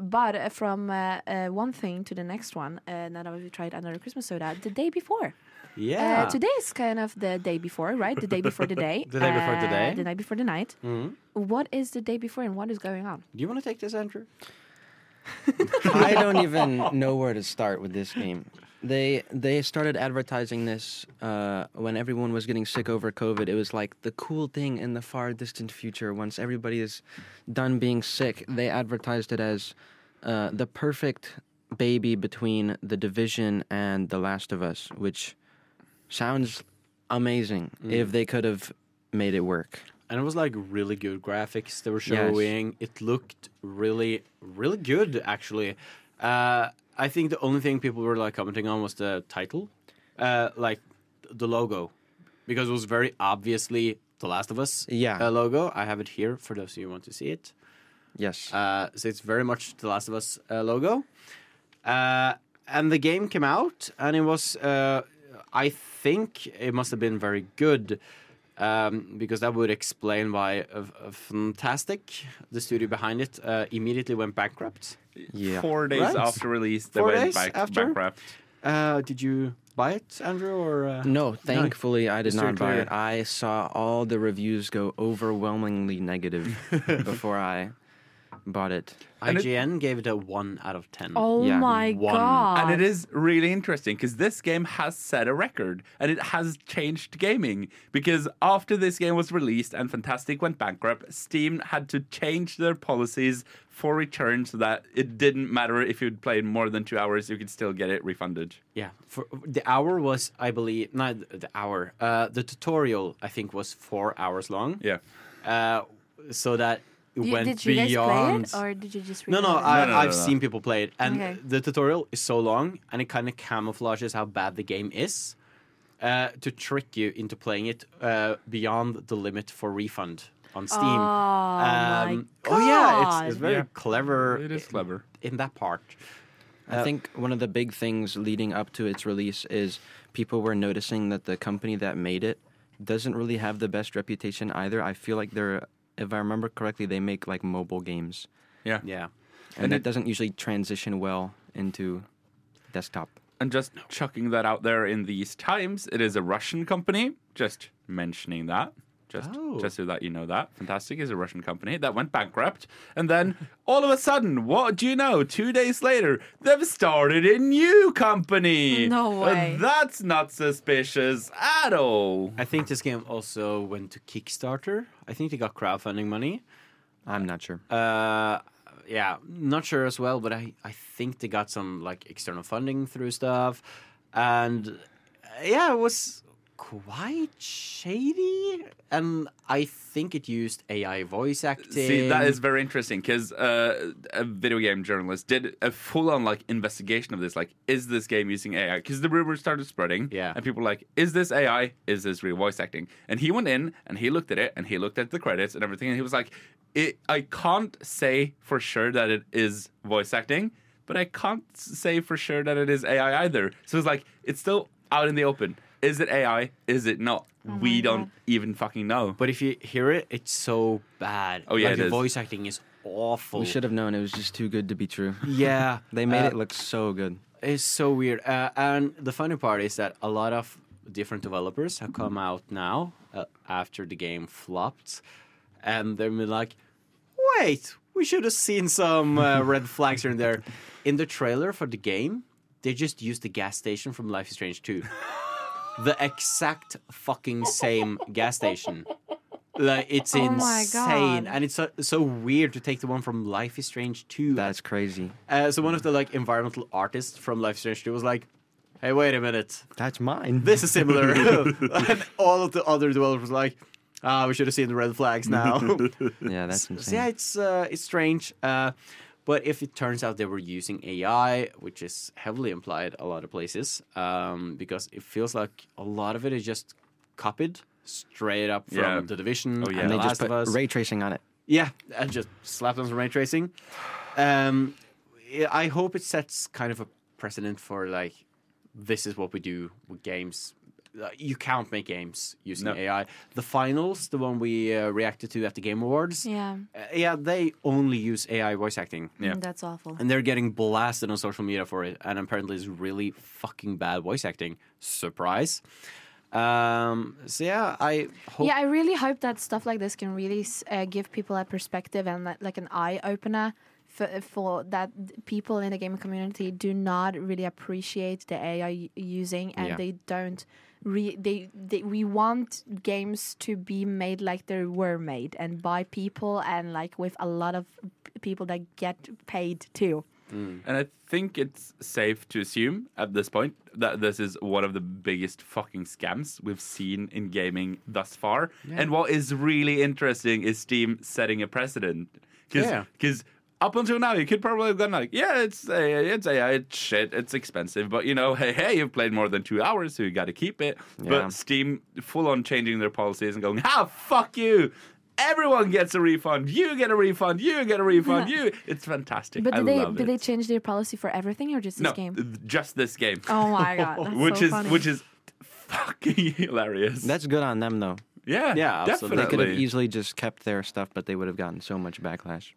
but uh, from uh, uh, one thing to the next one, uh, now that we tried another Christmas soda the day before.
yeah.
Uh, today is kind of the day before, right? The day before the day.
The day before the
uh,
day.
The night before the night. What is the day before, and what is going on?
Do Mm-hmm. you want to take this, Andrew?
I don't even know where to start with this game. They they started advertising this uh, when everyone was getting sick over COVID. It was like the cool thing in the far distant future. Once everybody is done being sick, they advertised it as uh, the perfect baby between The Division and The Last of Us, which sounds amazing. If they could have made it work,
And it was like really good graphics they were
Yes.
showing. It looked really, really good actually. Uh, I think the only thing people were like commenting on was the title, uh, like the logo, because it was very obviously The Last of Us
Yeah.
uh, logo. I have it here for those of you who want to see it.
yes,
Uh, so it's very much The Last of Us uh, logo. Uh, and the game came out, and it was, uh, I think it must have been very good. Um, because that would explain why uh, uh, Fantastic, the studio behind it, uh, immediately went bankrupt.
yeah.
Four days
Right.
after release, they
Four
went
days
back,
after?
bankrupt.
Uh, did you buy it, Andrew? Or uh...
No, thankfully I did
Just to
not buy
clear.
it. I saw all the reviews go overwhelmingly negative before I bought it.
And it-
IGN gave it a one out of ten.
Oh
Yeah.
my
One.
god!
And it is really interesting because this game has set a record and it has changed gaming. Because after this game was released and Fantastic went bankrupt, Steam had to change their policies for return so that it didn't matter if you'd played more than two hours, you could still get it refunded.
Yeah, for the hour was, I believe, not the hour. Uh, the tutorial, I think, was four hours long.
Yeah.
uh, so that it
You-
went
did you
beyond.
guys play it or did you just
no,
read
no,
it?
I,
No, no, no,
I've
no.
seen people play it, and
Okay.
the tutorial is so long, and it kind of camouflages how bad the game is uh, to trick you into playing it uh, beyond the limit for refund on Steam.
Oh, my
oh yeah, it's, it's
God.
very
Yeah.
clever.
It is clever.
in that part. Uh,
I think one of the big things leading up to its release is people were noticing that the company that made it doesn't really have the best reputation either. I feel like they're if I remember correctly, they make like mobile games.
Yeah.
Yeah,
And,
And
that
it-
doesn't usually transition well into desktop.
And just chucking that out there in these times, it is a Russian company. Just mentioning that. Just,
Oh.
just so that you know that. Fantastic is a Russian company that went bankrupt. And then all of a sudden, what do you know? Two days later, they've started a new company.
No way.
And that's not suspicious at all.
I think this game also went to Kickstarter. I think they got crowdfunding money.
I'm not sure.
Uh, yeah, not sure as well, but I, I think they got some like external funding through stuff, and uh, yeah, it was quite shady, and I think it used AI voice acting.
See, that is very interesting because uh, a video game journalist did a full-on like investigation of this. Like, is this game using AI? Because the rumors started spreading,
Yeah.
and people were like, is this AI? Is this real voice acting? And he went in and he looked at it and he looked at the credits and everything, and he was like, it, I can't say for sure that it is voice acting, but I can't s- say for sure that it is AI either. So it's like it's still out in the open. Is it AI? Is it not? we don't even fucking know.
But if you hear it, it's so bad.
Oh, yeah,
like,
it
the
is.
voice acting is awful.
We should have known it was just too good to be true.
Yeah,
They made
uh,
it look so good.
It's so weird. Uh, and the funny part is that a lot of different developers have come
Mm-hmm.
out now uh, after the game flopped, and they're been like, "Wait, we should have seen some uh, red flags here and there." In the trailer for the game, they just used the gas station from Life is Strange Two, the exact fucking same gas station. Like it's
Oh my
insane,
God.
and it's so, so weird to take the one from Life is Strange Two
That's crazy.
uh, so one of the like environmental artists from Life is Strange 2 was like, "Hey, wait a minute,
That's mine.
this is similar." and all of the other developers were like, "Ah, we should have seen the red flags now."
yeah, that's
So, yeah,
insane.
it's uh, it's strange. Uh, but if it turns out they were using AI, which is heavily implied a lot of places, um, because it feels like a lot of it is just copied straight up from
Yeah.
the division
Oh, yeah.
and
And
the
they
last
just
of us.
put ray tracing on it.
Yeah, and just slapped on some ray tracing. Um, I- I hope it sets kind of a precedent for like, this is what we do with games. Uh, You can't make games using
No.
AI. The finals, the one we uh, reacted to at the Game Awards,
Yeah,
uh, yeah, they only use AI voice acting.
Yeah.
Mm, that's awful.
And they're getting blasted on social media for it, and apparently it's really fucking bad voice acting. Surprise. Um, so yeah, I hope.
Yeah, I really hope that stuff like this can really s- uh, give people a perspective and like, like an eye opener for, uh, for that people in the gaming community do not really appreciate the AI u- using and
Yeah.
they don't. Re- they, they we want games to be made like they were made and by people and like with a lot of p- people that get paid too.
And I think it's safe to assume at this point that this is one of the biggest fucking scams we've seen in gaming thus far. And what is really interesting is Steam setting a precedent.
Yeah.
Because up until now, you could probably have gone like, yeah, it's AI, it's AI, it's shit, it's expensive. But you know, hey, hey, you've played more than two hours, so you got to keep it.
Yeah.
But Steam full on changing their policies and going, ah, fuck you. Everyone gets a refund. You get a refund. You get a refund. You. It's fantastic.
But
I
did they
love
did
it
they change their policy for everything or just this
no,
game?
th- just this game,
Oh my god, that's
which
so
is
funny.
which is fucking hilarious.
That's good on them though.
yeah,
Yeah, absolutely.
They could have
definitely.
easily just kept their stuff, but they would have gotten so much backlash.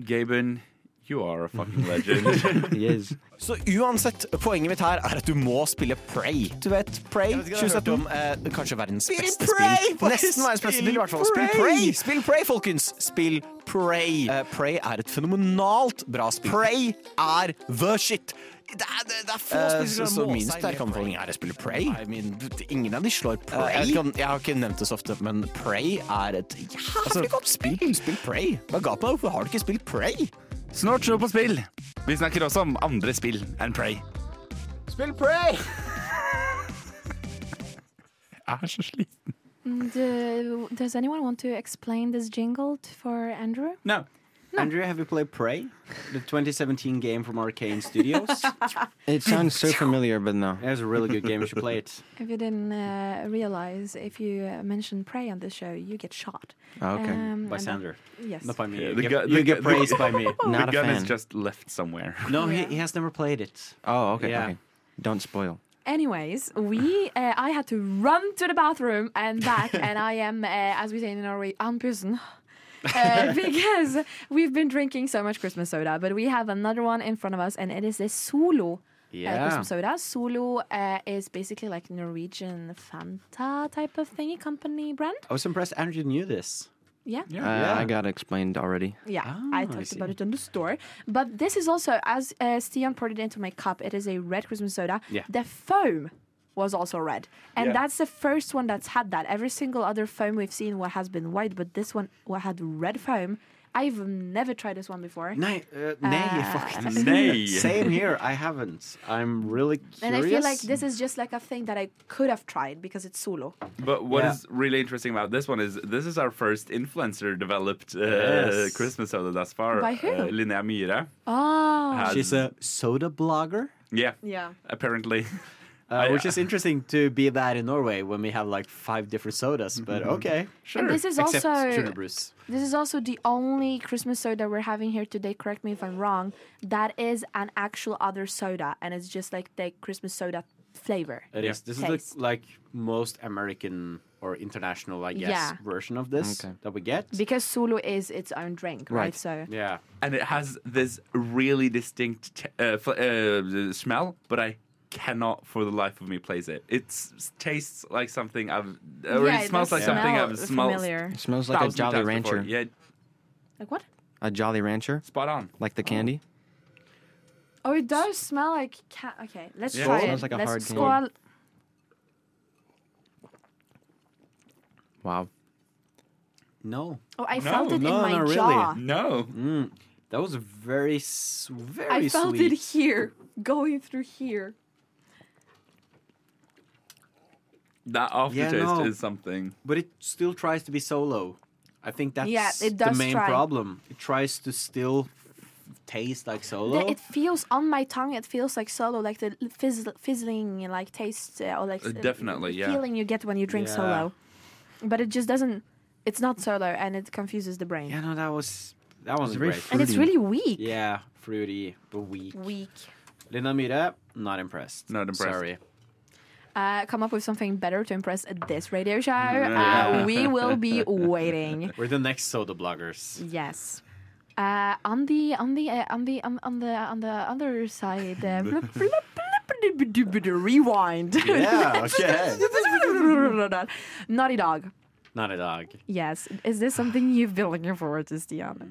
Gaben, you are a fucking legend.
He is.
Så uansett, poenget mitt her er at du må spille Prey. Du vet, Prey 2017. eh, kanskje verdens beste spill. Nesten verdens beste spill, i hvert fall. Spill Prey! Spill Prey, folkens! Spill Prey. Eh, Prey er et fenomenalt bra spill. Prey er the shit! Det er, det, det er få
Eh,
spill som
så- så
kan
min
måle seg
sterke
med
anbefaling
Prey.
er å spille Prey.
Nei, min- ingen av de slår Prey.
Eh, jeg vet ikke om-
jeg har ikke nevnt det så ofte, men Prey er et jævlig godt spill. Spill Prey. Hva ga på meg? Hvorfor har du ikke spilt Prey?
Snart show på spill. Vi snakker også om andre spill enn Prey.
Spill Prey!
Jeg er så sliten.
Do, does anyone want to explain this jingle t- for Andrew?
No.
Andrea, have you played Prey? The 2017 game from Arcane Studios.
It sounds so familiar, but no.
That's a really good game. You should play it.
If you didn't uh, realize, if you uh, mention prey on this show, you get shot.
Oh, okay.
Um,
By
and
Sander.
that- yes.
Not by me.
Yeah,
You
the
get-
gu-
you
the
get
gu- the-
praised by me.
Not
the
a
gun
fan.
is just left somewhere.
No, he, he has never played it.
Oh, okay.
Yeah.
Okay. Don't spoil.
Anyways, we uh, I had to run to the bathroom and back, and I am, uh, as we say in Norway, andpusen. uh, because we've been drinking so much Christmas soda, but we have another one in front of us, and it is a Solo uh, Christmas soda. Solo uh, is basically like Norwegian Fanta type of thingy company brand.
I was impressed Andrew knew this.
Yeah.
Uh, I got explained already.
Yeah,
Ah, I
I talked
see.
about it in the store. But this is also, as uh, Stian poured it into my cup, it is a red Christmas soda.
Yeah.
The foam was also red. And
Yeah.
that's the first one that's had that. Every single other foam we've seen what has been white, but this one what had red foam. I've never tried this one before.
Nei, uh, nei
Uh,
faktisk.
Nei.
Same here. I haven't. I'm really curious.
And I feel like this is just like a thing that I could have tried because it's solo.
But what is
Yeah.
really interesting about this one is this is our first influencer developed uh,
Yes.
Christmas soda thus far.
By who?
Uh, Linnea Myhre.
Oh.
has-
She's a soda blogger,
yeah,
Yeah.
apparently.
uh,
I-
which is interesting to be that in Norway when we have like five different sodas. But okay,
And this is
except
also
sugar brews.
This is also the only Christmas soda we're having here today. Correct me if I'm wrong. That is an actual other soda, and it's just like the Christmas soda flavor.
It is. This is
Taste.
the like most American or international, I guess,
Yeah.
version of this
Okay.
that we get.
Because Solo is its own drink, right?
Right.
So
yeah.
and it has this really distinct t- uh, fl- uh, smell, but I cannot for the life of me place it. It tastes like something I've, or
Yeah,
it smells
the
like something
smell
I've
is
smelled
familiar.
It smells like a
thousand
Jolly
times before.
Rancher.
Yeah,
Like what?
A Jolly Rancher,
spot on.
like the candy.
Oh, it does smell like cat. Okay, let's
Yeah.
try
Skål.
it.
Smells like a
let's
hard candy.
skål.
Wow.
No.
Oh, I
No,
felt it
no,
in my
no, really.
jaw.
No,
That was very, s- very
I felt
sweet.
it here, going through here.
that aftertaste
no.
is something.
But it still tries to be solo. I think that's
Yeah, it
the
does
main
try.
problem. It tries to still taste like
The-
solo.
it feels on my tongue. It feels like solo, like the l- fizzle, fizzling, like taste uh, or like
Uh,
s-
definitely, yeah.
feeling you get when you drink
Yeah.
solo. But it just doesn't. It's not solo, and it confuses the brain.
yeah, no, that was that was
very
great.
and it's
fruity.
really weak.
Yeah, fruity, but weak.
Weak.
Linda Myhre, not impressed.
Not impressed.
Sorry.
Uh, come up with something better to impress at this radio show.
Yeah.
Uh, we will be waiting.
We're the next soda bloggers.
Yes. Uh, on the on the uh, on the on, on the on the other side, uh, blip, blip, blip, blip, blip, blip, rewind.
Yeah, okay.
Naughty Dog.
not a dog.
Yes. Is this something you've been looking forward to, Stiana?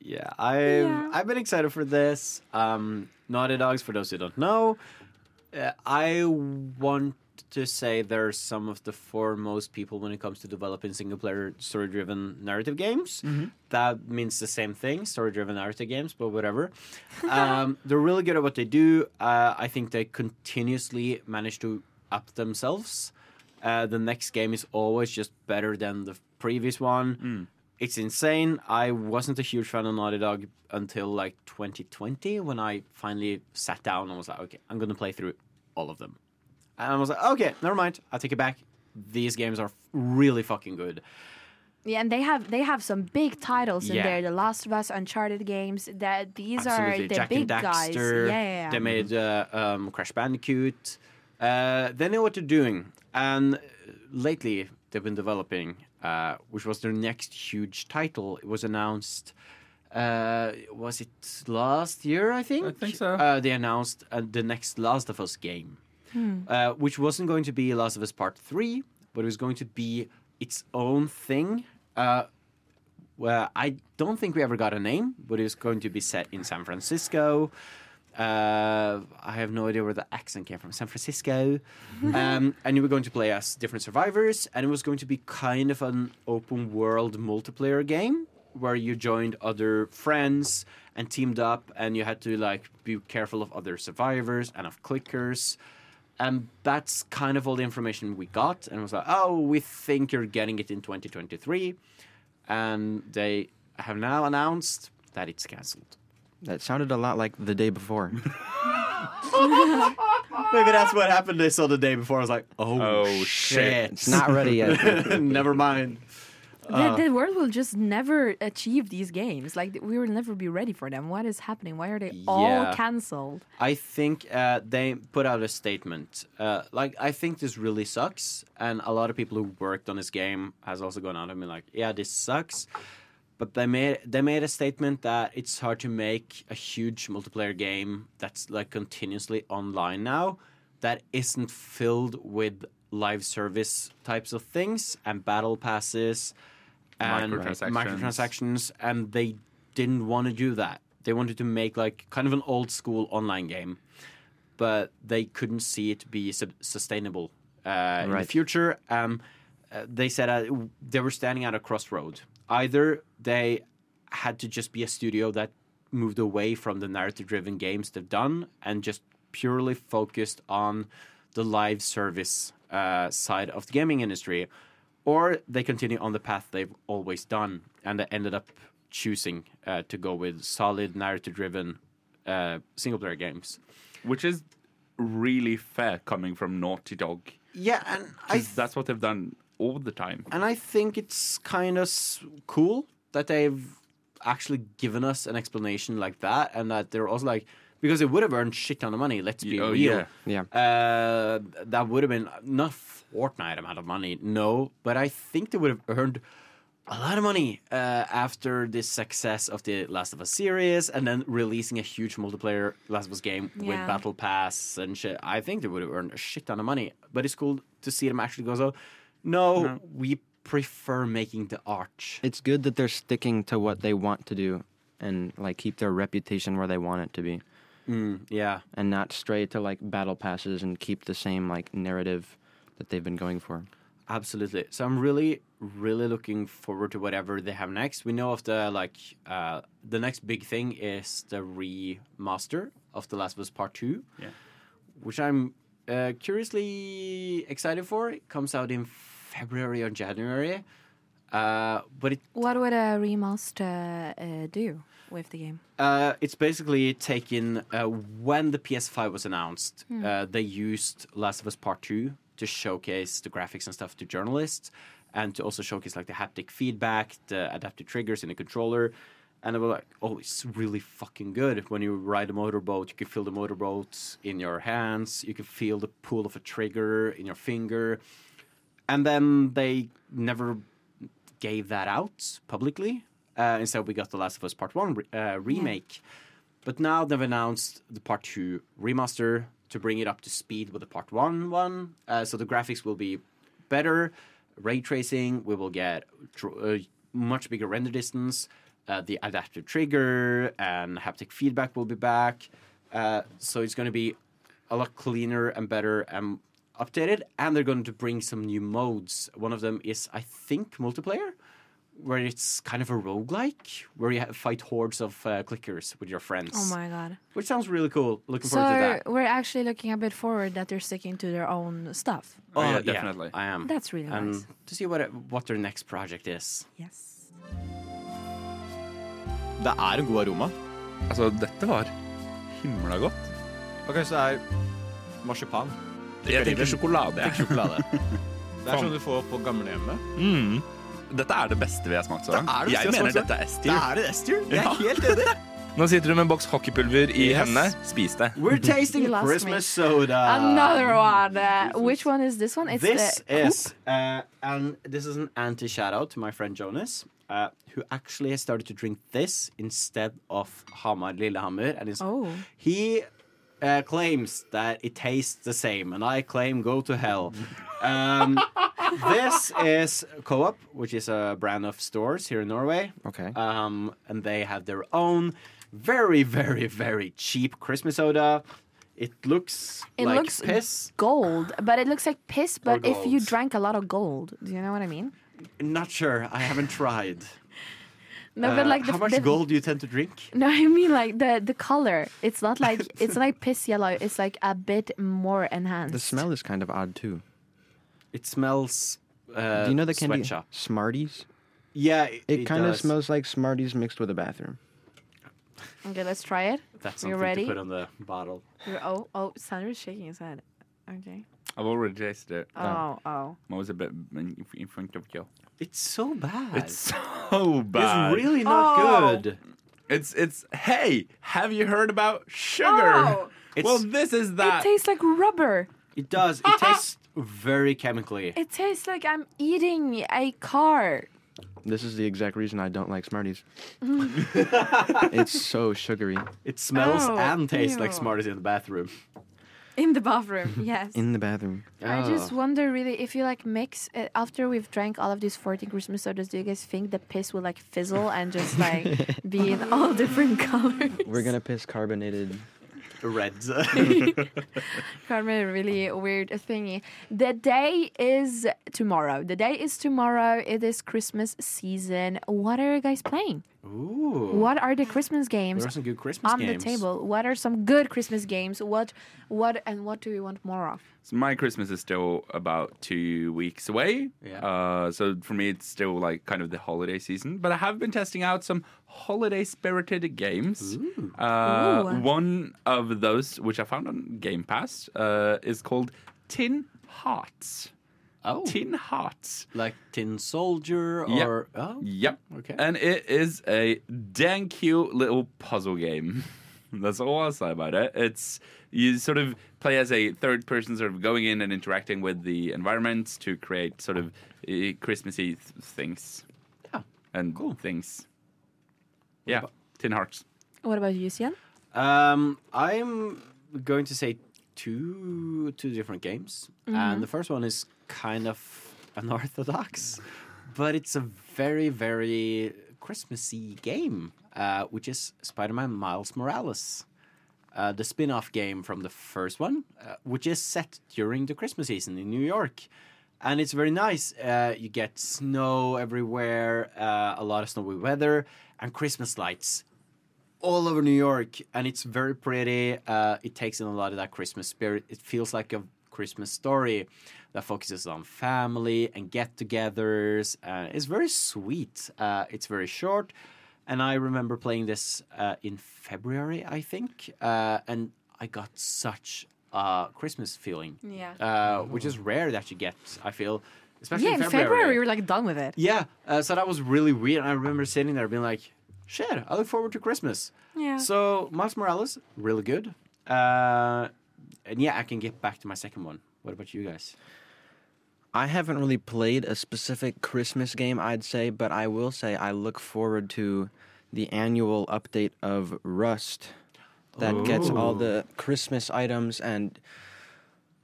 Yeah, I've
Yeah.
I've been excited for this. Um, Naughty Dogs, for those who don't know, uh, I want to say they're some of the foremost people when it comes to developing single-player story-driven narrative games. That means the same thing, story-driven narrative games, but whatever. um, they're really good at what they do. Uh, I think they continuously manage to up themselves. Uh, the next game is always just better than the previous one. It's insane. I wasn't a huge fan of Naughty Dog until like 2020 when I finally sat down and was like, okay, I'm going to play through all of them. And I was like, okay, never mind. I take it back. These games are really fucking good.
Yeah, and they have they have some big titles
Yeah.
in there. The Last of Us, Uncharted games. That these are the
Jack
big
and
guys. Yeah,
Daxter.
yeah,
They
yeah.
made uh, um, Crash Bandicoot. Uh, they know what they're doing, and lately they've been developing, uh, which was their next huge title. It was announced. Uh, was it last year? I think.
I think so.
Uh, they announced uh, the next Last of Us game,
Hmm.
uh, which wasn't going to be Last of Us Part Three, but it was going to be its own thing. Uh, well, I don't think we ever got a name, but it's going to be set in San Francisco. Uh, I have no idea where the accent came from. San Francisco. um, and you were going to play as different survivors, and it was going to be kind of an open world multiplayer game where you joined other friends and teamed up, and you had to like be careful of other survivors and of clickers. And that's kind of all the information we got, and it was like, oh, we think you're getting it in 2023 and they have now announced that it's cancelled.
That sounded a lot like the day before.
Maybe that's what happened. They saw the day before. I was like, oh,
Oh, shit.
shit.
it's not ready yet.
Never mind.
the, the
uh,
world will just never achieve these games. Like we will never be ready for them. What is happening? Why are they all
Yeah.
cancelled?
I think uh, they put out a statement. Uh, like, I think this really sucks. And a lot of people who worked on this game has also gone out and been like, yeah, this sucks. But they made they made a statement that it's hard to make a huge multiplayer game that's like continuously online now that isn't filled with live service types of things and battle passes and
Microtransactions.
microtransactions and they didn't want to do that. They wanted to make like kind of an old school online game, but they couldn't see it be sub- sustainable uh, in the
Right.
future. Um, uh, they said uh, w- they were standing at a crossroad. Either they had to just be a studio that moved away from the narrative-driven games they've done and just purely focused on the live service uh, side of the gaming industry, or they continue on the path they've always done and they ended up choosing uh, to go with solid narrative-driven uh, single-player games.
Which is really fair coming from Naughty Dog.
Yeah, and
'cause that's what they've done all the time.
and I think it's kind of s- cool that they've actually given us an explanation like that, and that they're also like because it would have earned shit ton of money. Let's be
Oh,
real.
yeah.
Yeah.
Uh, that would have been not Fortnite amount of money, no, but I think they would have earned a lot of money uh, after the success of the Last of Us series, and then releasing a huge multiplayer Last of Us game with
Yeah.
battle pass and shit. I think they would have earned a shit ton of money, but it's cool to see them actually go. So, no, we prefer making the art.
It's good that they're sticking to what they want to do and like keep their reputation where they want it to be
yeah.
and not stray to like battle passes and keep the same like narrative that they've been going for.
Absolutely. So I'm really, really looking forward to whatever they have next. We know of the like uh, the next big thing is the remaster of The Last of Us Part Two,
Yeah.
which I'm uh, curiously excited for. It comes out in February or January, uh, but it
What would a remaster uh, do with the game?
uh, it's basically taken uh, when the PS5 was announced. Uh, they used Last of Us Part Two to showcase the graphics and stuff to journalists, and to also showcase like the haptic feedback, the adaptive triggers in the controller. And they were like, "Oh, it's really fucking good." When you ride a motorboat, you can feel the motorboat in your hands. You can feel the pull of a trigger in your finger and then they never gave that out publicly. Uh, instead, we got the Last of Us Part One re- uh, remake, but now they've announced the Part Two remaster to bring it up to speed with the Part One one. Uh, so the graphics will be better, ray tracing. We will get tr- uh, much bigger render distance. Uh, the adaptive trigger and haptic feedback will be back. Uh, so it's going to be a lot cleaner and better and updated. And they're going to bring some new modes. One of them is, I think, multiplayer, where it's kind of a roguelike, where you have fight hordes of uh, clickers with your friends.
Oh my god!
Which sounds really cool. Looking
So Oh,
forward to that.
we're actually looking a bit forward that they're sticking to their own stuff.
Oh, yeah, definitely.
I am.
That's really
and
nice.
to see what what their next project is.
Yes.
Det er en god aroma.
Altså, dette var himla godt.
Ok, så det er marsipan. er
Jeg tenker sjokolade. jeg.
Sjokolade. Det er sånn du får på gamlehjemmet.
Mm. Dette er det beste vi har smakt så langt.
Det er det beste
jeg
vi har
mener
smakt så langt.
dette er
Det
S-tier.
er det S-tier. Jeg
Ja.
er helt enig.
Nå sitter du med en boks hockeypulver i hendene. Spis det.
We're tasting
You lost me.
Christmas soda.
Another one. Uh, which one is this one? It's
this
the Coop.
is uh, and this is an anti shout out to my friend Jonas, uh, who actually has started to drink this instead of Hamar Lillehammer, and is
Oh.
he. Uh, claims that it tastes the same, and I claim go to hell. Um, this is Co-op, which is a brand of stores here in Norway.
Okay.
Um, and they have their own very, very, very cheap Christmas soda. It looks
It
like
looks
piss.
gold, but it looks like piss. But if you
gold.
drank a lot of gold, do you know what I mean?
Not sure. I haven't tried.
No,
Uh,
but like the,
how much
the,
gold do you tend to drink?
No, I mean like the the color. It's not like it's not like piss yellow. It's like a bit more enhanced.
The smell is kind of odd too.
It smells. Uh,
Do you know the candy
sweatshop.
Smarties?
Yeah,
It, kind of
does.
smells like Smarties mixed with a bathroom.
Okay, let's try it.
That's
You're
something
ready?
to put on the bottle.
You're, oh, oh, Sander is shaking his head. Okay.
I've already tasted it.
Oh, oh.
Mine was a bit in in front of you.
It's so bad.
It's so bad.
It's really not
Oh.
good.
It's it's. Hey, have you heard about sugar?
Oh.
well,
It's-
this is
It
Ah.
that.
tastes like rubber.
It does. It tastes very chemically.
It tastes like I'm eating a car.
This is the exact reason I don't like Smarties. it's so sugary.
It smells
Oh,
and tastes like
ew.
Smarties in the bathroom.
In the bathroom, yes.
In the bathroom.
I just
Oh.
wonder really if you like mix uh, after we've drank all of these 14 Christmas sodas, do you guys think the piss will like fizzle and just like be in all different colors?
We're gonna piss carbonated.
red.
Carmen, really weird thingy. The day is tomorrow. The day is tomorrow. It is Christmas season. What are you guys playing?
Ooh.
What are the Christmas games
There are some good Christmas
on
games.
the table? What are some good Christmas games? What, what, and what do we want more of?
So my Christmas is still about two weeks away.
Yeah.
Uh, so for me, it's still like kind of the holiday season. But I have been testing out some holiday spirited games. Uh,
Ooh.
One of those, which I found on Game Pass, uh, is called Tin Hearts.
Oh.
tin hearts.
Like Tin Soldier
Yeah.
or oh,
Yep.
Okay.
And it is a dang cute little puzzle game. That's all I'll say about it. It's you sort of play as a third person, sort of going in and interacting with the environment to create sort of uh, Christmassy th- things.
Yeah.
And things. Yeah. Tin hearts.
What about you, Sian?
Um, I'm going to say two two different games, and the first one is kind of unorthodox, but it's a very very Christmassy game, uh, which is Spider-Man Miles Morales. Uh, the spin-off game from the first one, uh, which is set during the Christmas season in New York, and it's very nice. Uh, you get snow everywhere, uh, a lot of snowy weather, and Christmas lights all over New York, and it's very pretty. Uh, it takes in a lot of that Christmas spirit. It feels like a Christmas story that focuses on family and get-togethers. Uh, it's very sweet. Uh, it's very short, and I remember playing this uh, in February, I think, uh, and I got such a Christmas feeling,
Yeah.
uh, which is rare that you get. I feel, especially
yeah, in February we were like done with it.
yeah, uh, so that was really weird. And I remember sitting there being like, shit, I look forward to Christmas.
Yeah.
So, Miles Morales, really good. Uh, and yeah, I can get back to my second one. What about you guys?
I haven't really played a specific Christmas game, I'd say, but I will say I look forward to the annual update of Rust that gets all the Christmas items and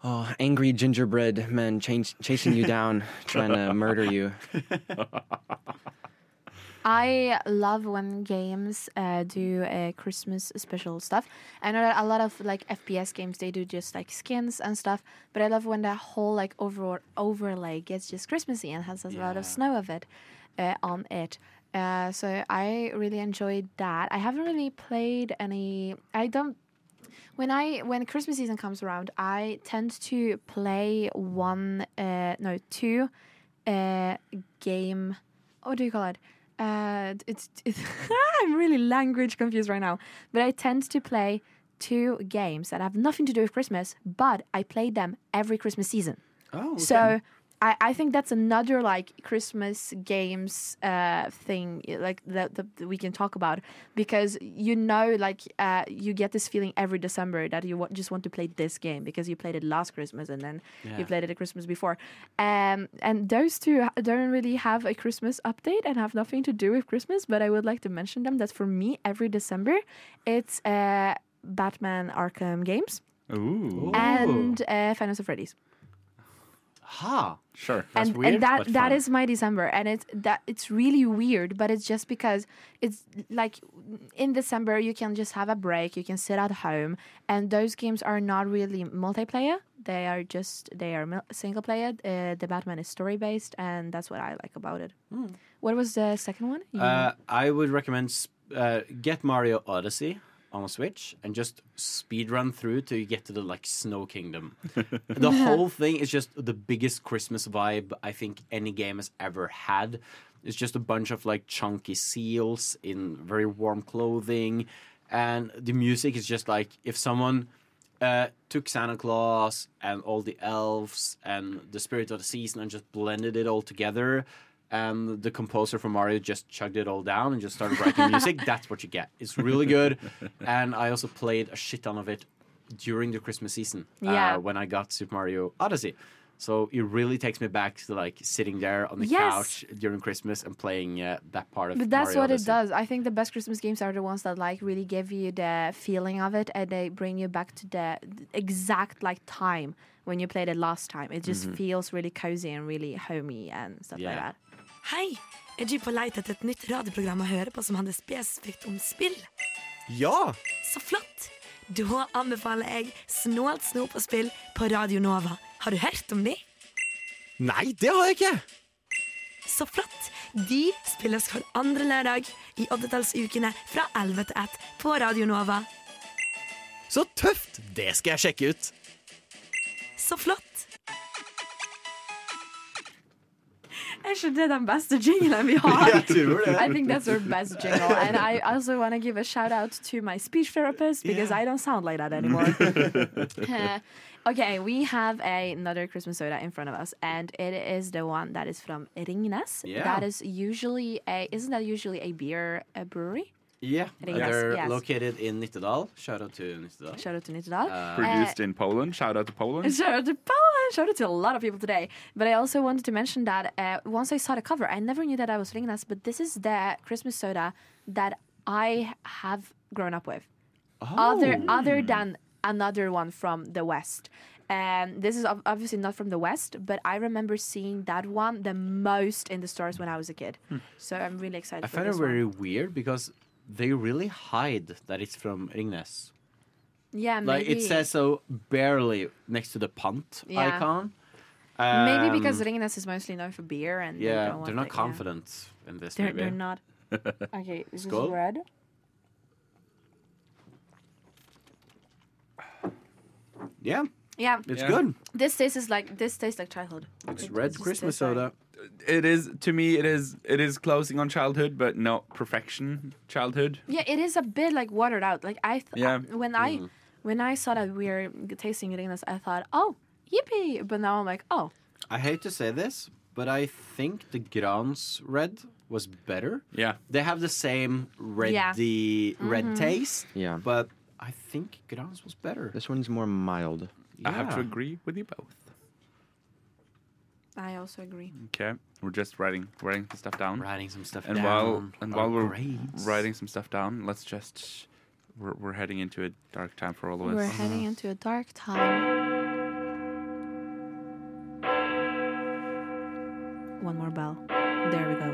oh, angry gingerbread men chas- chasing you down, trying to murder you.
I love when games uh, do uh, Christmas special stuff. I know that a lot of like FPS games they do just like skins and stuff, but I love when the whole like overall overlay gets just Christmassy and has a lot of snow of it uh, on it. Uh, so I really enjoyed that. I haven't really played any. I don't when I when Christmas season comes around, I tend to play one uh no two uh game. What do you call it? Uh, it's, it's I'm really language confused right now, but I tend to play two games that have nothing to do with Christmas, but I play them every Christmas season.
Oh,
So I, I think that's another like Christmas games uh, thing like that, that we can talk about because you know like uh, you get this feeling every December that you wa- just want to play this game because you played it last Christmas and then
Yeah.
you played it at Christmas before. Um, and those two ha- don't really have a Christmas update and have nothing to do with Christmas, but I would like to mention them that for me every December it's uh, Batman Arkham games
Ooh.
and uh, Final Fantasy Freddy's
ha.
Sure.
That's
and,
weird,
and that
but
that
fun.
is my December, and it's that it's really weird, but it's just because it's like in December you can just have a break, you can sit at home, and those games are not really multiplayer. They are just they are mil- single player. Uh, the Batman is story based, and that's what I like about it. What was the second one? You-
Hmm. Uh, I would recommend sp- uh, get Mario Odyssey on Switch and just speed run through till you get to the like Snow Kingdom. the whole thing is just the biggest Christmas vibe I think any game has ever had. It's just a bunch of like chunky seals in very warm clothing, and the music is just like if someone uh, took Santa Claus and all the elves and the spirit of the season and just blended it all together. And the composer from Mario just chugged it all down and just started writing music. That's what you get. It's really good. And I also played a shit ton of it during the Christmas season uh,
Yeah.
when I got Super Mario Odyssey. So it really takes me back to like sitting there on the
Yes.
couch during Christmas and playing uh, that part of
But that's
Mario
what
Odyssey.
it does. I think the best Christmas games are the ones that like really give you the feeling of it, and they bring you back to the exact like time when you played it last time. It just feels really cozy and really homey and stuff like
Yeah.
that.
Hei! Er du på leit etter et nytt radioprogram å høre på som handler spesifikt om spill?
Ja!
Så flott! Da anbefaler jeg Snålt snop og spill på Radio Nova. Har du hørt om de?
Nei, det har jeg ikke!
Så flott! De spilles hver andre lørdag i oddetallsukene fra 11 til 1 på Radio Nova.
Så tøft! Det skal jeg sjekke ut.
Så flott!
Er ikke det den beste jinglen vi har?
tror det.
I think that's our best jingle. And I also want to give a shout out to my speech therapist because I don't sound like that anymore. Uh, okay, we have another Christmas soda in front of us, and it is the one that is from Ringnes.
Yeah.
That is usually a isn't that usually a beer a brewery?
Yeah. Uh,
Yes,
They're
yes.
located in Nittedal. Shout out to Nittedal.
Shout out to Nittedal.
Produced in Poland. Shout out to Poland.
Shout out to Poland. Shout out to a lot of people today. But I also wanted to mention that uh, once I saw the cover, I never knew that I was Ringnes, but this is the Christmas soda that I have grown up with. Other
Oh.
other than another one from the West. Um, this is ob- obviously not from the West, but I remember seeing that one the most in the stores when I was a kid. So I'm really excited.
Hmm. I
for
find it
this one.
very weird because they really hide that it's from Ringnes.
yeah,
Like
maybe
it says so barely next to the punt
Yeah.
icon.
maybe because
Um,
Ringnes is mostly known for beer and they don't
yeah,
want
they're not
it, yeah.
confident in this
They're,
maybe.
they're not. okay, this
Skål.
is red.
Yeah,
Yeah,
it's good.
this tastes is like this tastes like childhood.
It's
It- it
red
just
Christmas
tastes like-
soda.
It is to me. It is. It is closing on childhood, but not perfection. Childhood.
Yeah, it is a bit like watered out. Like I, th-
Yeah.
when I
Mm-hmm.
when I saw that we were tasting it in this, I thought, oh, yippee! But now I'm like, oh,
I hate to say this, but I think the Grans red was better.
Yeah.
They have the same reddy red
Mm-hmm.
taste.
Yeah.
But I think Grans was better.
This one's more mild.
I have to
Yeah.
agree with you both.
I also agree.
Okay, we're just writing writing some stuff down.
Writing some stuff
And
down. Oh,
while and
Our
while we're
grades.
writing some stuff down, let's just we're, we're heading into a dark time for all of
We're
us.
heading into a dark time. One more bell. There we go.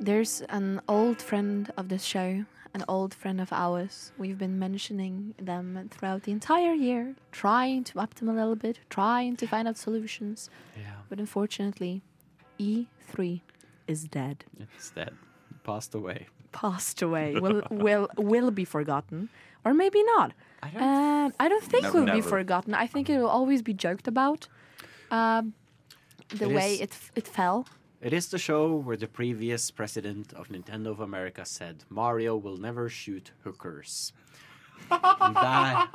There's an old friend of the show, an old friend of ours. We've been mentioning them throughout the entire year, trying to up them a little bit, trying to find out solutions.
Yeah,
But unfortunately, E3 is dead,
it's dead. Passed away.
passed away, will will will be forgotten, or maybe not.
I don't
Um, I don't think
No,
we'll be
never.
forgotten. I think it will always be joked about. Um, the
It
way
is-
it f- it fell.
It is the show where the previous president of Nintendo of America said Mario will never shoot hookers. and that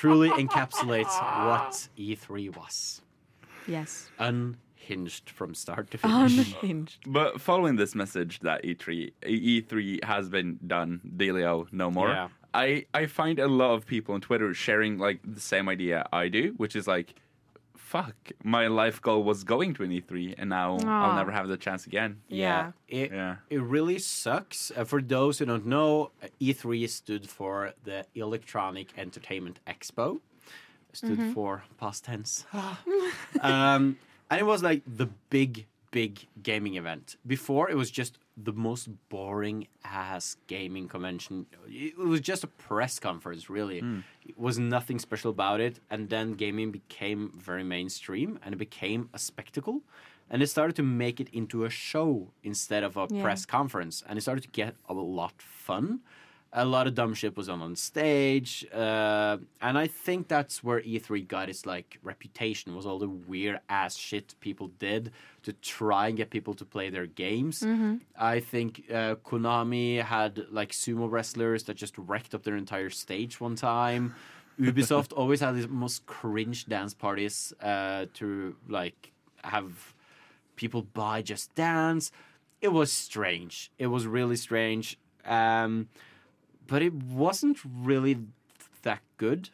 truly encapsulates what E3 was.
Yes,
Unhinged from start to finish.
unhinged.
Mm-hmm. But following this message that E E3 E3 has been done, Delio no more.
Yeah.
I I find a lot of people on Twitter sharing like the same idea I do, which is like, fuck, my life goal was going to an E3, and now I'll
Aw.
never have the chance again.
Yeah.
It,
Yeah.
it really sucks. Uh, for those who don't know, uh, E3 stood for the Electronic Entertainment Expo. Stood for past tense. um, and it was like the big, big gaming event. Before, it was just the most boring ass gaming convention. It was just a press conference, really. It was nothing special about it. And then gaming became very mainstream and it became a spectacle. And it started to make it into a show instead of a
Yeah.
press conference. And it started to get a lot fun. A lot of dumb shit was on on stage, uh, and I think that's where E3 got its like reputation was all the weird ass shit people did to try and get people to play their games. I think uh, Konami had like sumo wrestlers that just wrecked up their entire stage one time. Ubisoft always had these most cringe dance parties uh, to like have people buy Just Dance. It was strange. It was really strange. Um, but it wasn't really that good,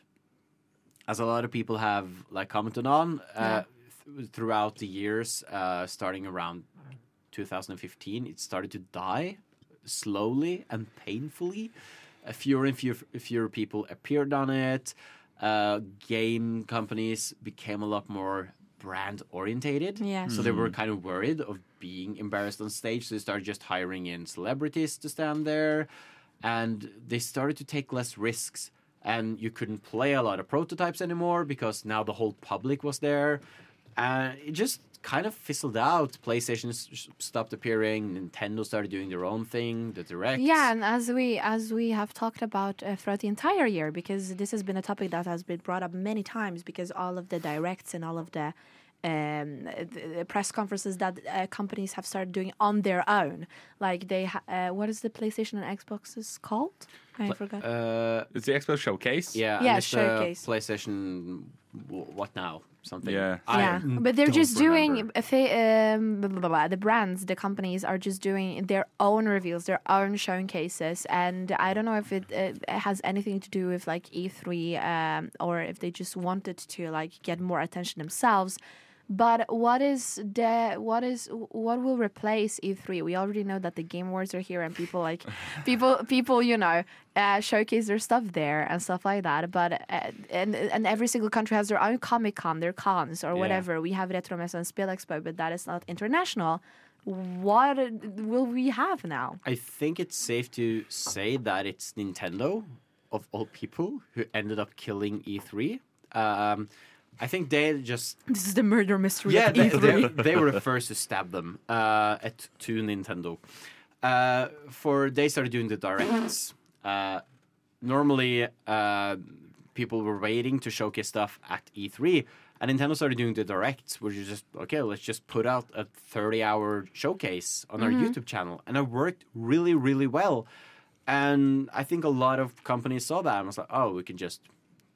as a lot of people have like commented on uh, th- throughout the years, uh, starting around 2015. It started to die slowly and painfully. Uh, fewer and fewer, fewer people appeared on it. Uh, game companies became a lot more brand orientated.
Yeah.
So they were kind of worried of being embarrassed on stage. So they started just hiring in celebrities to stand there. And they started to take less risks. And you couldn't play a lot of prototypes anymore because now the whole public was there. And it just kind of fizzled out. PlayStation s- stopped appearing. Nintendo started doing their own thing, the Direct.
Yeah, and as we as we have talked about uh, throughout the entire year, because this has been a topic that has been brought up many times, because all of the directs and all of the um, the, the press conferences that uh, companies have started doing on their own. Like they, ha- uh, what is the PlayStation and Xboxes called? I forgot.
Uh,
It's the Expo Showcase.
yeah, and
Yeah,
it's the
showcase.
PlayStation w- What now? Something.
Yeah.
I-
yeah, but they're
don't
just doing
remember.
a fa- um, blah, blah, blah, blah. the brands, the companies are just doing their own reveals, their own showcases, and I don't know if it uh, has anything to do with like E three um, or if they just wanted to like get more attention themselves. But what is the what is what will replace E three? We already know that the Game Awards are here and people like people people you know uh, showcase their stuff there and stuff like that. But uh, and and every single country has their own Comic Con, their cons or whatever. We have Retromessa and Spiel Expo, but that is not international. What will we have now?
I think it's safe to say that it's Nintendo, of all people, who ended up killing E3. Um, I think they just
This is the murder mystery.
yeah
of E
they,
E3.
they, they were the first to stab them uh, at to Nintendo. Uh, for they started doing the directs. Uh, normally, uh, people were waiting to showcase stuff at E3, and Nintendo started doing the directs, where you just okay, let's just put out a 30-hour showcase on our YouTube channel, and it worked really, really well. And I think a lot of companies saw that and was like, oh, we can just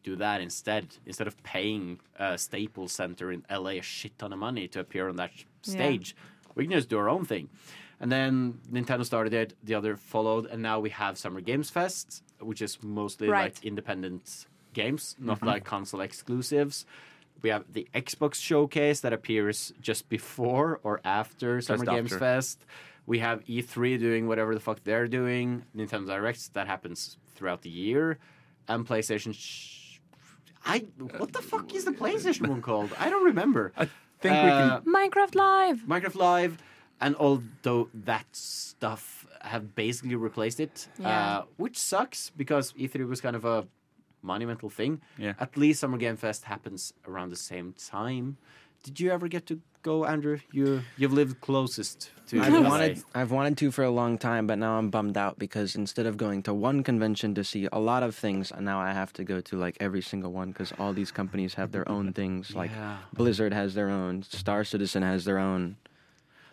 do that instead instead of paying uh, Staples Center in LA a shit ton of money to appear on that sh- stage. We can just do our own thing. And then Nintendo started it, the other followed, and now we have Summer Games Fest, which is mostly
Right.
like independent games, not like console exclusives. We have the Xbox showcase that appears just before or after Summer Games
after.
Fest. We have E3 doing whatever the fuck they're doing. Nintendo Directs that happens throughout the year, and PlayStation. Sh- I what the fuck is the PlayStation one called? I don't remember. Uh, I
think we can-
Minecraft Live.
Minecraft Live, and although that stuff have basically replaced it,
Yeah.
uh, which sucks because E3 was kind of a monumental thing.
Yeah.
At least Summer Game Fest happens around the same time. Did you ever get to go, Andrew? You you've lived closest to.
I've
LA.
wanted I've wanted to for a long time, but now I'm bummed out because instead of going to one convention to see a lot of things, now I have to go to like every single one because all these companies have their own things. Like
Yeah.
Blizzard has their own, Star Citizen has their own.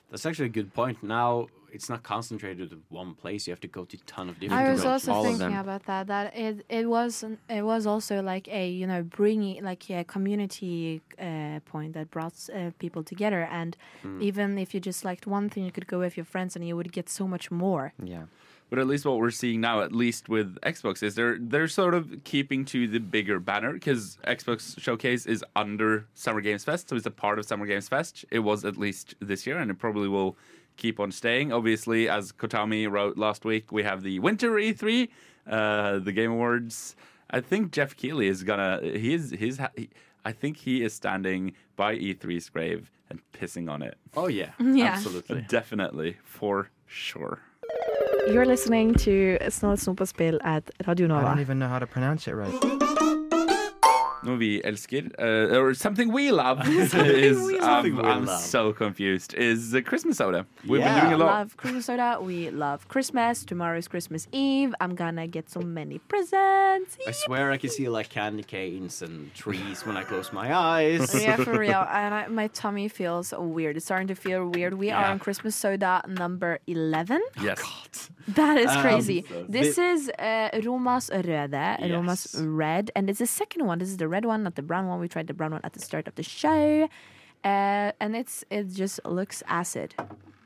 That's actually a good point. Now it's not concentrated at one place. You have to go to a ton of different.
I was
go
conventions.
also
all of
thinking
them.
about that. That it it was an- it was also like a you know bringing like a community uh, point that brought uh, people together. And even if you just liked one thing, you could go with your friends, and you would get so much more.
Yeah.
But at least what we're seeing now, at least with Xbox, is they're they're sort of keeping to the bigger banner because Xbox Showcase is under Summer Games Fest, so it's a part of Summer Games Fest. It was at least this year, and it probably will keep on staying. Obviously, as Kotami wrote last week, we have the Winter E3, uh, the Game Awards. I think Jeff Keighley is gonna. He is. He's. ha- He, I think he is standing by E3's grave and pissing on it.
Oh yeah,
Yeah.
absolutely.
Definitely, for sure.
You're listening to Snålt snopespel at Radio Nova.
even know how to pronounce it right.
Noe vi elsker, uh, or something we love, is,
we
love.
um, I'm
We love.
so confused, is the Christmas soda. We've
Yeah.
been doing a lot.
Love Christmas soda. We love Christmas. Tomorrow is Christmas Eve. I'm gonna get so many presents.
I swear I can see like candy canes and trees when I close my eyes.
yeah, for real. And I, my tummy feels weird. It's starting to feel weird. We are
Yeah.
on Christmas soda number 11.
Oh, Yes.
That is
Um,
crazy.
so-
this
the-
is uh, Roma's Røde, Roma's
Yes.
Red. And it's the second one. This is the red one, not the brown one. We tried the brown one at the start of the show. Uh, and it's it just looks acid.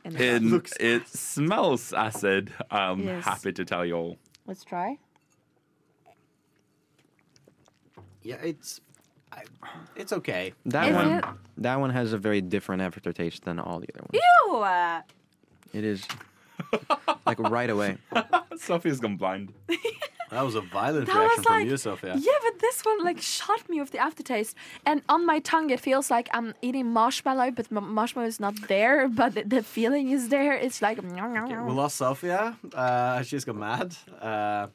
in the
It,
front.
it smells acid. I'm
Yes.
happy to tell you all.
Let's try.
Yeah, it's I, it's okay.
That
Is
one
it-
that one has a very different aftertaste than all the other ones.
Ew! uh,
It is like right away.
Sophie's gone blind.
That was a violent
That
reaction
was
from
like-
you, Sophia.
Yeah, but this one like shot me with the aftertaste, and on my tongue it feels like I'm eating marshmallow, but m- marshmallow is not there, but the, the feeling is there. It's like
Okay, we lost Sophia. Uh, she's got mad, uh,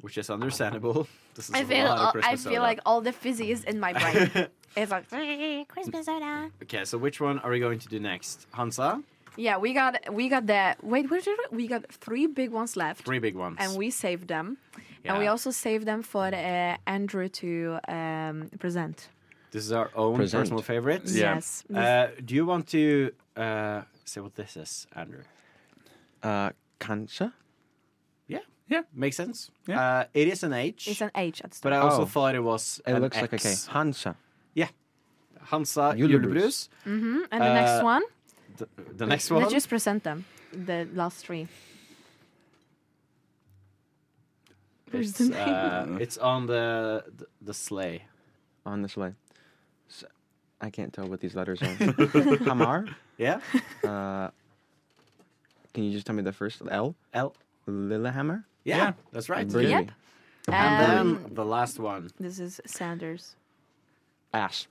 which is understandable. This is
I
a
feel
lot of
all,
Christmas
I feel
soda.
like all the fizzy is in my brain. it's like "Mm, Christmas soda.
Okay, so which one are we going to do next? Hansa,
Yeah, we got we got the wait. What did we, we got? Three big ones left,
three big ones.
and we saved them, and we
Yeah.
also saved them for uh, Andrew to um, present.
This is our own
Present.
personal favorites.
Yeah.
Yes.
Uh, do you want to uh, say what this is, Andrew?
Uh, kanskje?
Yeah.
Yeah.
Makes sense.
Yeah.
Uh, it is an H.
It's an H at the
but I also
Oh.
thought it was
It
an
looks like okay.
X.
Hansa.
Hansa
Julebrus.
Julebrus.
start. And the next
uh,
one,
The, the next one.
let's just present them. The last three. Where's
It's,
the name?
uh, it's on the the, the sleigh.
on this way. S- I can't tell what these letters are. Hamar.
Yeah.
Uh, can you just tell me the first L?
L.
Lillehammer.
Yeah,
Yeah.
that's right.
Brewery.
Yep.
And
Um,
then the last one.
this is Sanders.
Ash.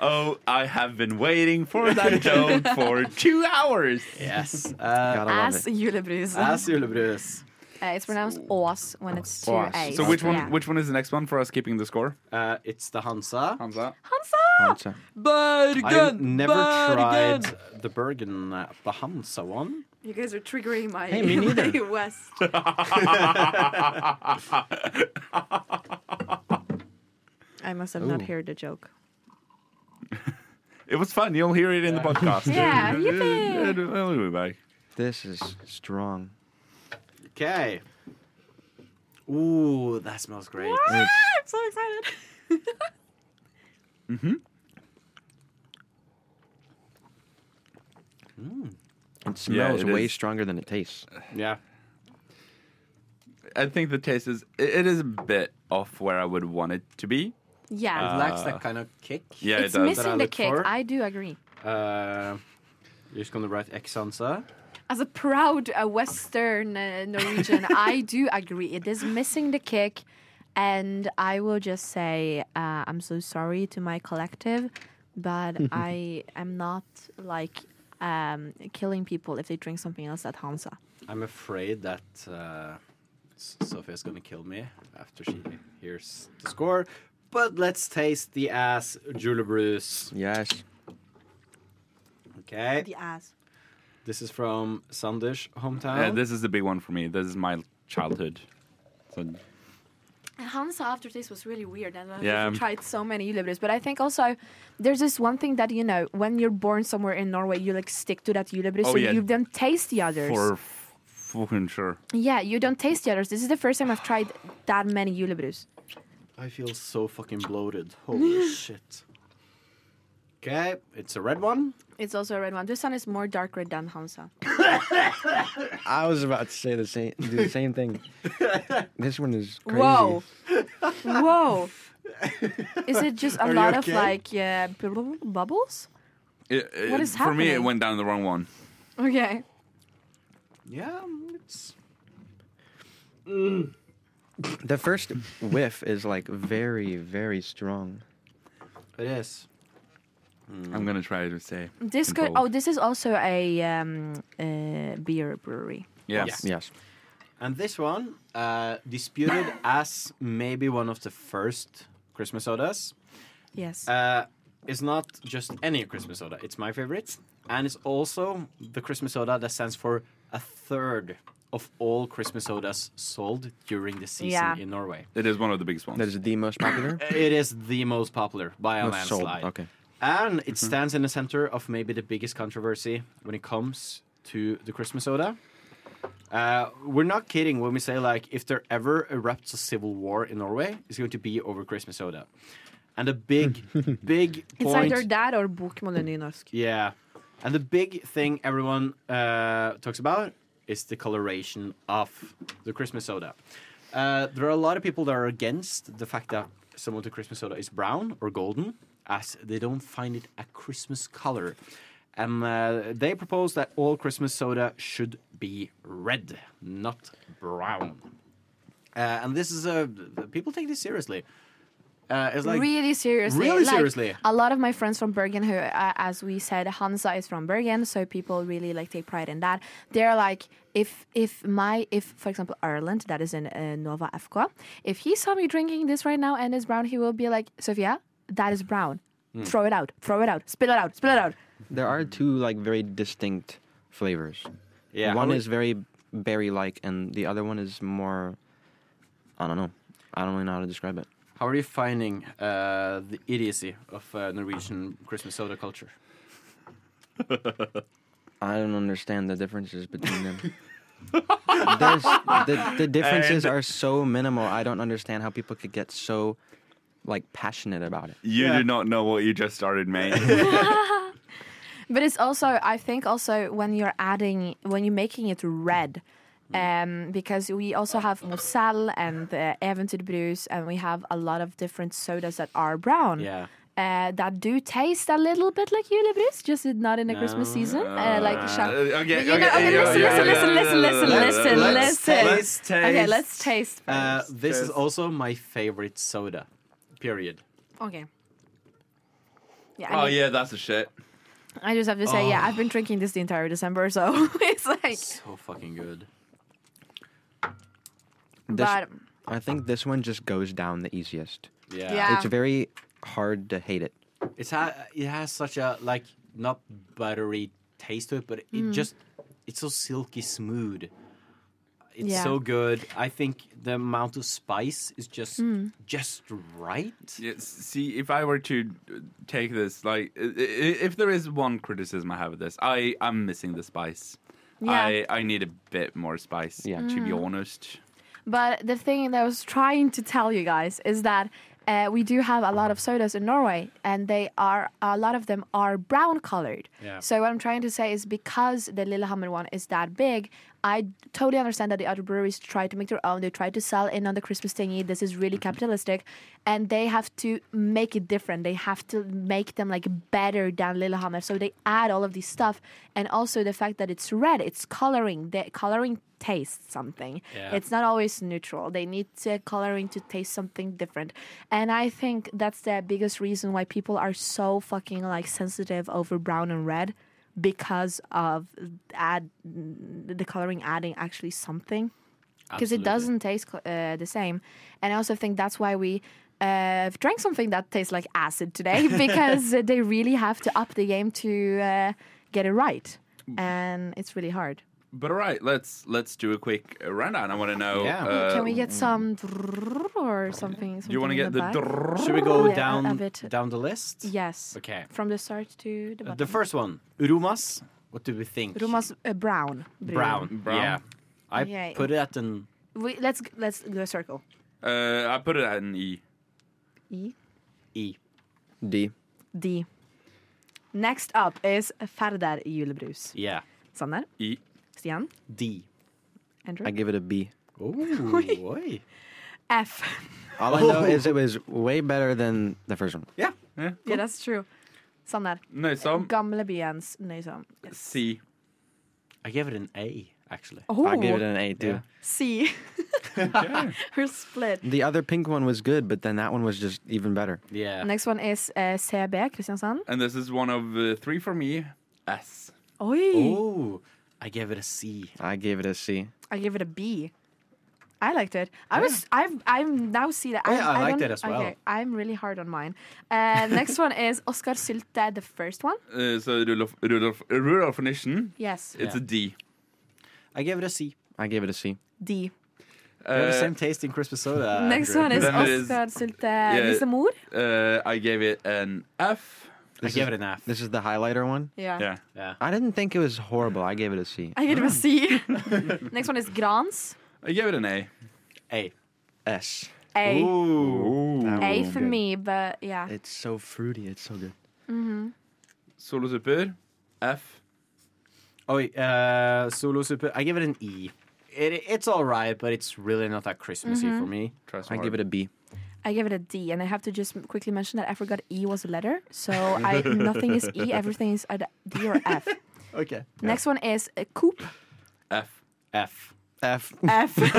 Oh, I have been waiting for that joke for two hours.
Yes. Uh,
Gotta love
As
it.
julebrus.
as julebrus.
Uh, it's pronounced Ås when it's two
Ås.
A's.
So which one?
Yeah.
Which one is the next one for us keeping the score?
Uh, it's the Hansa.
Hamza.
Hansa!
Hansa.
I've never tried the Bergen, uh, the Hansa one.
You guys are triggering my
Hey, me neither.
West.
I must have not
Ooh.
heard the joke.
It was fun. You'll hear it in the podcast.
Yeah, yippee.
I'll be back.
This is strong.
Okay. Ooh, that smells great.
I'm so excited.
It
Yeah,
smells
it
way
is.
stronger than it tastes.
Yeah.
I think the taste is it, it is a bit off where I would want it to be.
It
Yeah.
lacks that kind of kick.
Uh, Yeah,
it's
it does.
That I
missing the
look
kick.
for.
I do agree.
Uh, you're just gonna write X Hansa.
As a proud uh, Western uh, Norwegian, I do agree. It is missing the kick. And I will just say uh, I'm so sorry to my collective, but I am not like um, killing people if they drink something else at Hansa.
I'm afraid that uh, S- Sophia's gonna kill me after she hears the score. But let's taste the ass Julebrus.
Yes.
Okay.
The ass.
This is from Sanders' hometown.
Yeah, this is the big one for me. This is my childhood. So,
Hansa aftertaste was really weird, and I've
Yeah.
tried so many julebrus. But I think also there's this one thing that you know when you're born somewhere in Norway, you like stick to that julebrus,
Oh,
so
yeah.
you don't taste the others.
for f- fucking sure.
Yeah, you don't taste the others. This is the first time I've tried that many julebrus.
I feel so fucking bloated. Holy shit. Okay, it's a red one.
It's also a red one. This one is more dark red than Hansa.
I was about to say the same. Do the same thing. this one is crazy.
Whoa, whoa! Is it just a
Are you
lot
okay?
of like uh, bu- bu- bu- bubbles?
It- it-
What is
for me, it
happening?
went down the wrong one.
Okay.
Yeah, it's
The first whiff is like very, very strong.
it is.
I'm gonna try to say.
This could.
Control.
Mm. Oh, this is also a um, uh, beer brewery.
Yeah.
Yes.
Yes.
And this one, uh, disputed as maybe one of the first Christmas sodas.
Yes.
Uh, it's not just any Christmas soda. It's my favorite, and it's also the Christmas soda that stands for a third of all Christmas sodas sold during the season
Yeah.
in Norway.
It is one of the biggest ones.
That is the most popular.
It is the most popular by a
Most sold.
landslide.
Okay. Mm-hmm.
And it stands in the center of maybe the biggest controversy when it comes to the Christmas soda. Uh, we're not kidding when we say like if there ever erupts a civil war in Norway, it's going to be over Christmas soda. And the big, big
It's
point,
either that or bokmål and nynorsk.
yeah. And the big thing everyone uh, talks about is the coloration of the Christmas soda. Uh, there are a lot of people that are against the fact that some of the Christmas soda is brown or golden, as they don't find it a Christmas color. And uh, they propose that all Christmas soda should be red, not brown. Uh, and this is a people take this seriously. Uh, it's like
really seriously.
Really
like,
seriously.
A lot of my friends from Bergen, who, uh, as we said, Hansa is from Bergen, so people really like take pride in that. They're like, if if my if for example Ireland, that is in uh, Nova FK, if he saw me drinking this right now and it's brown, he will be like, Sofia, that is brown.
Hmm.
Throw it out. Throw it out. Spill it out. Spill it out.
There are two like very distinct flavors.
Yeah,
One
I would-
is very berry like, and the other one is more. I don't know. I don't really know how to describe it.
How are you finding uh, the idiocy of uh, Norwegian Christmas soda culture?
I don't understand the differences between them. There's, the, the differences are so minimal. I don't understand how people could get so like passionate about it.
You do not know what you just started, mate.
But it's also, I think, also when you're adding, when you're making it red, um, because we also have Moselle and uh, Eventyrbrus, and we have a lot of different sodas that are brown.
Yeah.
Uh, that do taste a little bit like julebrus, just not in the Christmas season. Uh, like
Uh,
champ-
okay, okay,
You know, okay,
yeah,
listen,
yeah,
listen,
yeah,
listen,
yeah,
listen,
yeah,
listen,
yeah,
listen,
yeah, yeah.
listen.
Let's taste.
Okay, let's taste.
Uh, this is also my favorite soda. Period.
Okay. Yeah, I,
Oh
mean,
yeah, Oh. that's a shit.
I just have to say, yeah, I've been drinking this the entire December, so it's like,
So fucking good.
This,
but
I think this one just goes down the easiest.
Yeah.
Yeah.
It's very hard to hate it.
It's ha- it has such a like not buttery taste to it, but it
Mm.
just it's so silky smooth. It's
Yeah.
so good. I think the amount of spice is just
Mm.
just right.
Yeah, s- see, if I were to uh, take this, like, i- i- if there is one criticism I have of this, I am missing the spice.
Yeah. Mm.
I, I need a bit more spice.
Yeah.
To be honest.
But the thing that I was trying to tell you guys is that uh, we do have a lot of sodas in Norway, and they are a lot of them are brown colored.
Yeah.
So what I'm trying to say is because the Lillehammer one is that big, I totally understand that the other breweries try to make their own. They try to sell in on the Christmas thingy. This is
Mm-hmm.
really capitalistic, and they have to make it different. They have to make them like better than Lillehammer. So they add all of this stuff, and also the fact that it's red, it's coloring. The coloring tastes something.
Yeah.
It's not always neutral. They need uh, coloring to taste something different. And I think that's the biggest reason why people are so fucking like sensitive over brown and red because of add the coloring adding actually something because it
Absolutely.
doesn't taste co- uh, the same. And I also think that's why we uh, drank something that tastes like acid today because they really have to up the game to uh, get it right. And it's really hard.
But all right, let's let's do a quick uh, rundown. I want to know.
Yeah.
Uh,
Can we get some or something?
do you want to get the? drrrr?
Should we go
Yeah, a-
down
a bit.
down the list?
Yes.
Okay. Uh,
From the start to the bottom.
The first one, Urumas. What do we think?
Rumas uh, brown. brew.
Brown.
Brown.
Yeah. I
Okay.
put it at an
We, let's let's do a circle.
Uh, I put it at an E.
E
E.
D.
D. Next up is Færder julebrus.
Yeah.
Sander,
E.
Stian,
D.
Andrew.
I give it a B.
Oh, oi.
F.
All I know is it was way better than the first one.
Yeah.
yeah, that's true. Sander,
No,
Um,
some
Gamlebyens nøysom.
C.
I gave it an A, actually.
I give it
Oh,
an A too.
Yeah.
C. We're split.
The other pink one was good, but then that one was just even better.
Yeah.
Next one is uh, CB, Kristiansand.
And this is one of uh, three for me. S.
Oi!
Oh, I gave it a C.
I gave it a C.
I give it a B. I liked it. I was. I've. I'm now see that.
Oh, yeah, I liked
don't-
it as well.
Okay, I'm really hard on mine. Uh, next one is Oscar Sylte, the first one.
Uh, so Rudolf Rudolf Rudolf Nissen.
Yes,
It's a D.
I gave it a C.
I gave it a C.
D.
We have the
Uh,
same taste in Christmas soda.
Next
Andrew.
one is
Then it is-
Oscar Sylte Nissemor.
uh, I gave it an F.
I
This
gave
is-
it an F.
This is the highlighter one.
Yeah.
Yeah.
Yeah.
I didn't think it was horrible. I gave it a C.
I give it a C. Next one is Grans.
I gave it an A.
A.
S.
A.
Ooh.
A for me, but yeah.
It's so fruity. It's so good.
Solo Super. F.
Oh, uh, Solo Super. I give it an E. It, it's all right, but it's really not that Christmassy for me.
Trust
I give it a B.
I give it a D, and I have to just m- quickly mention that I forgot E was a letter, so I nothing is E, everything is either D or F.
Okay.
Next one is uh, Coop.
F.
F.
F.
F.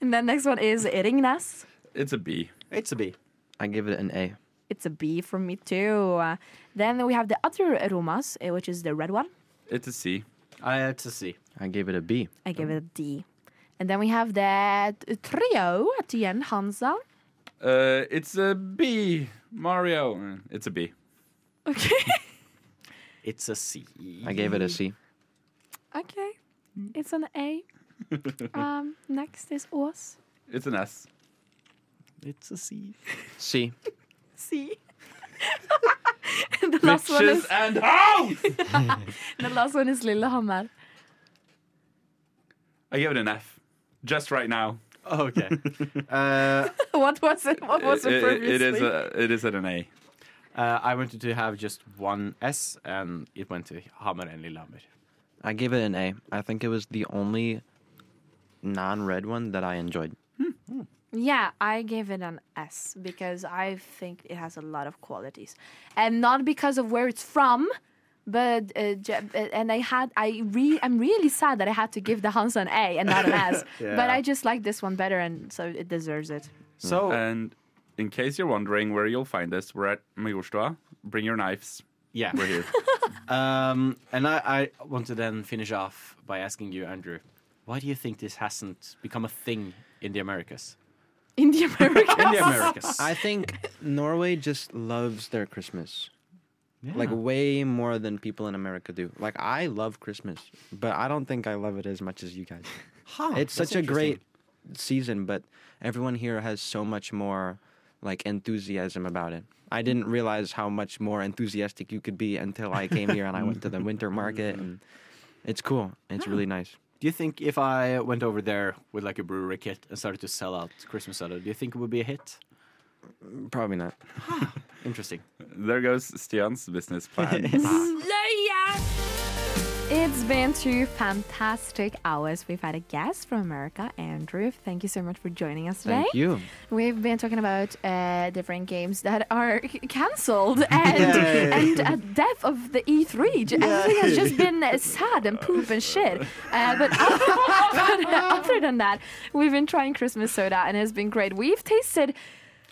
and then next one is Ringnes.
It's a B.
It's a B.
I give it an A.
It's a B from me too. Uh, then we have the other Romas, uh, which is the red one.
It's a C.
I, Uh, it's a C.
I gave it a B.
I give it a D. And then we have the t- trio at the end, Hansa.
Uh, it's a B. Mario. Mm, It's a B.
Okay.
It's a C.
I gave it a C.
okay. It's an A. Um, next is Ås.
It's an S.
It's a C.
C.
C. the, last one is,
and hoes!
the last one is Lillehammer.
I give it an F. Just right now.
Okay. uh,
What was it? What was it,
It- it-
previously?
it is a, it is at an A.
uh, I wanted to have just one S, and it went to Hammer and Lillehammer.
I give it an A. I think it was the only non-red one that I enjoyed.
Yeah, I gave it an S because I think it has a lot of qualities, and not because of where it's from, but uh, j- uh, and I had I re I'm really sad that I had to give the Hansa an A and not an S, but I just like this one better, and so it deserves it. Oh.
So
And in case you're wondering where you'll find us, we're at Majorstua. Bring your knives.
yeah,
We're here.
Um, and I, I want to then finish off by asking you, Andrew, why do you think this hasn't become a thing in the Americas?
In the America,
In the Americas.
I think Norway just loves their Christmas. Like way more than people in America do. Like I love Christmas, but I don't think I love it as much as you guys. it's
that's
such a
interesting.
great season, but everyone here has so much more like enthusiasm about it. I didn't realize how much more enthusiastic you could be until I came here and I went to the winter market and it's cool. It's really nice.
Do you think if I went over there with like a brewery kit and started to sell out Christmas soda, do you think it would be a hit?
Probably not.
Interesting.
there goes Stian's business plan.
it's been two fantastic hours. We've had a guest from America, Andrew. Thank you so much for joining us today.
Thank you.
We've been talking about uh, different games that are cancelled and and a death of the E3. J- Everything has just been uh, sad and poop and shit. Uh, but other, but other than that, we've been trying Christmas soda and it's been great. We've tasted.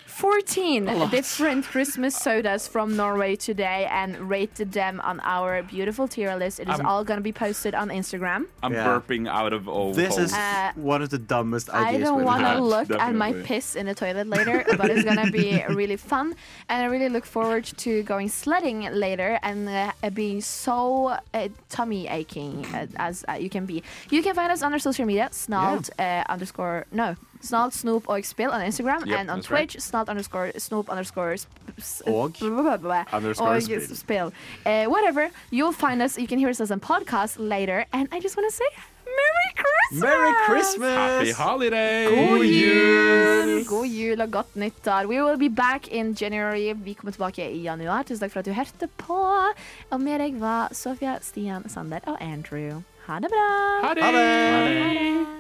14 different Christmas sodas from Norway today and rated them on our beautiful tier list. It is all going to be posted on Instagram.
I'm
Yeah.
burping out of all
This
holes.
is
Uh,
one of the dumbest
I
ideas
don't
we've
want
had.
to look at my
definitely.
piss in the toilet later, but it's gonna be really fun, and I really look forward to going sledding later and uh, being so uh, tummy aching uh, as uh, you can be. You can find us on our social media, snalt uh, underscore no snalt snoop og spill on Instagram
Yep,
and on
that's right.
Twitch snalt underscore snoop underscore sp- s-
Og
blah, blah, blah, blah.
underscore
Og
spill.
spill. Uh, whatever, you'll find us. You can hear us as a podcast later, and I just want to say. Merry Christmas!
Merry Christmas!
Happy holiday!
God jul og godt nyttår. We will be back in January. Vi kommer tilbake i januar. Tusen takk for at du hørte på. Og med deg var Sofia, Stian, Sander og Andrew. Ha det bra!
Ha det!
Ha det.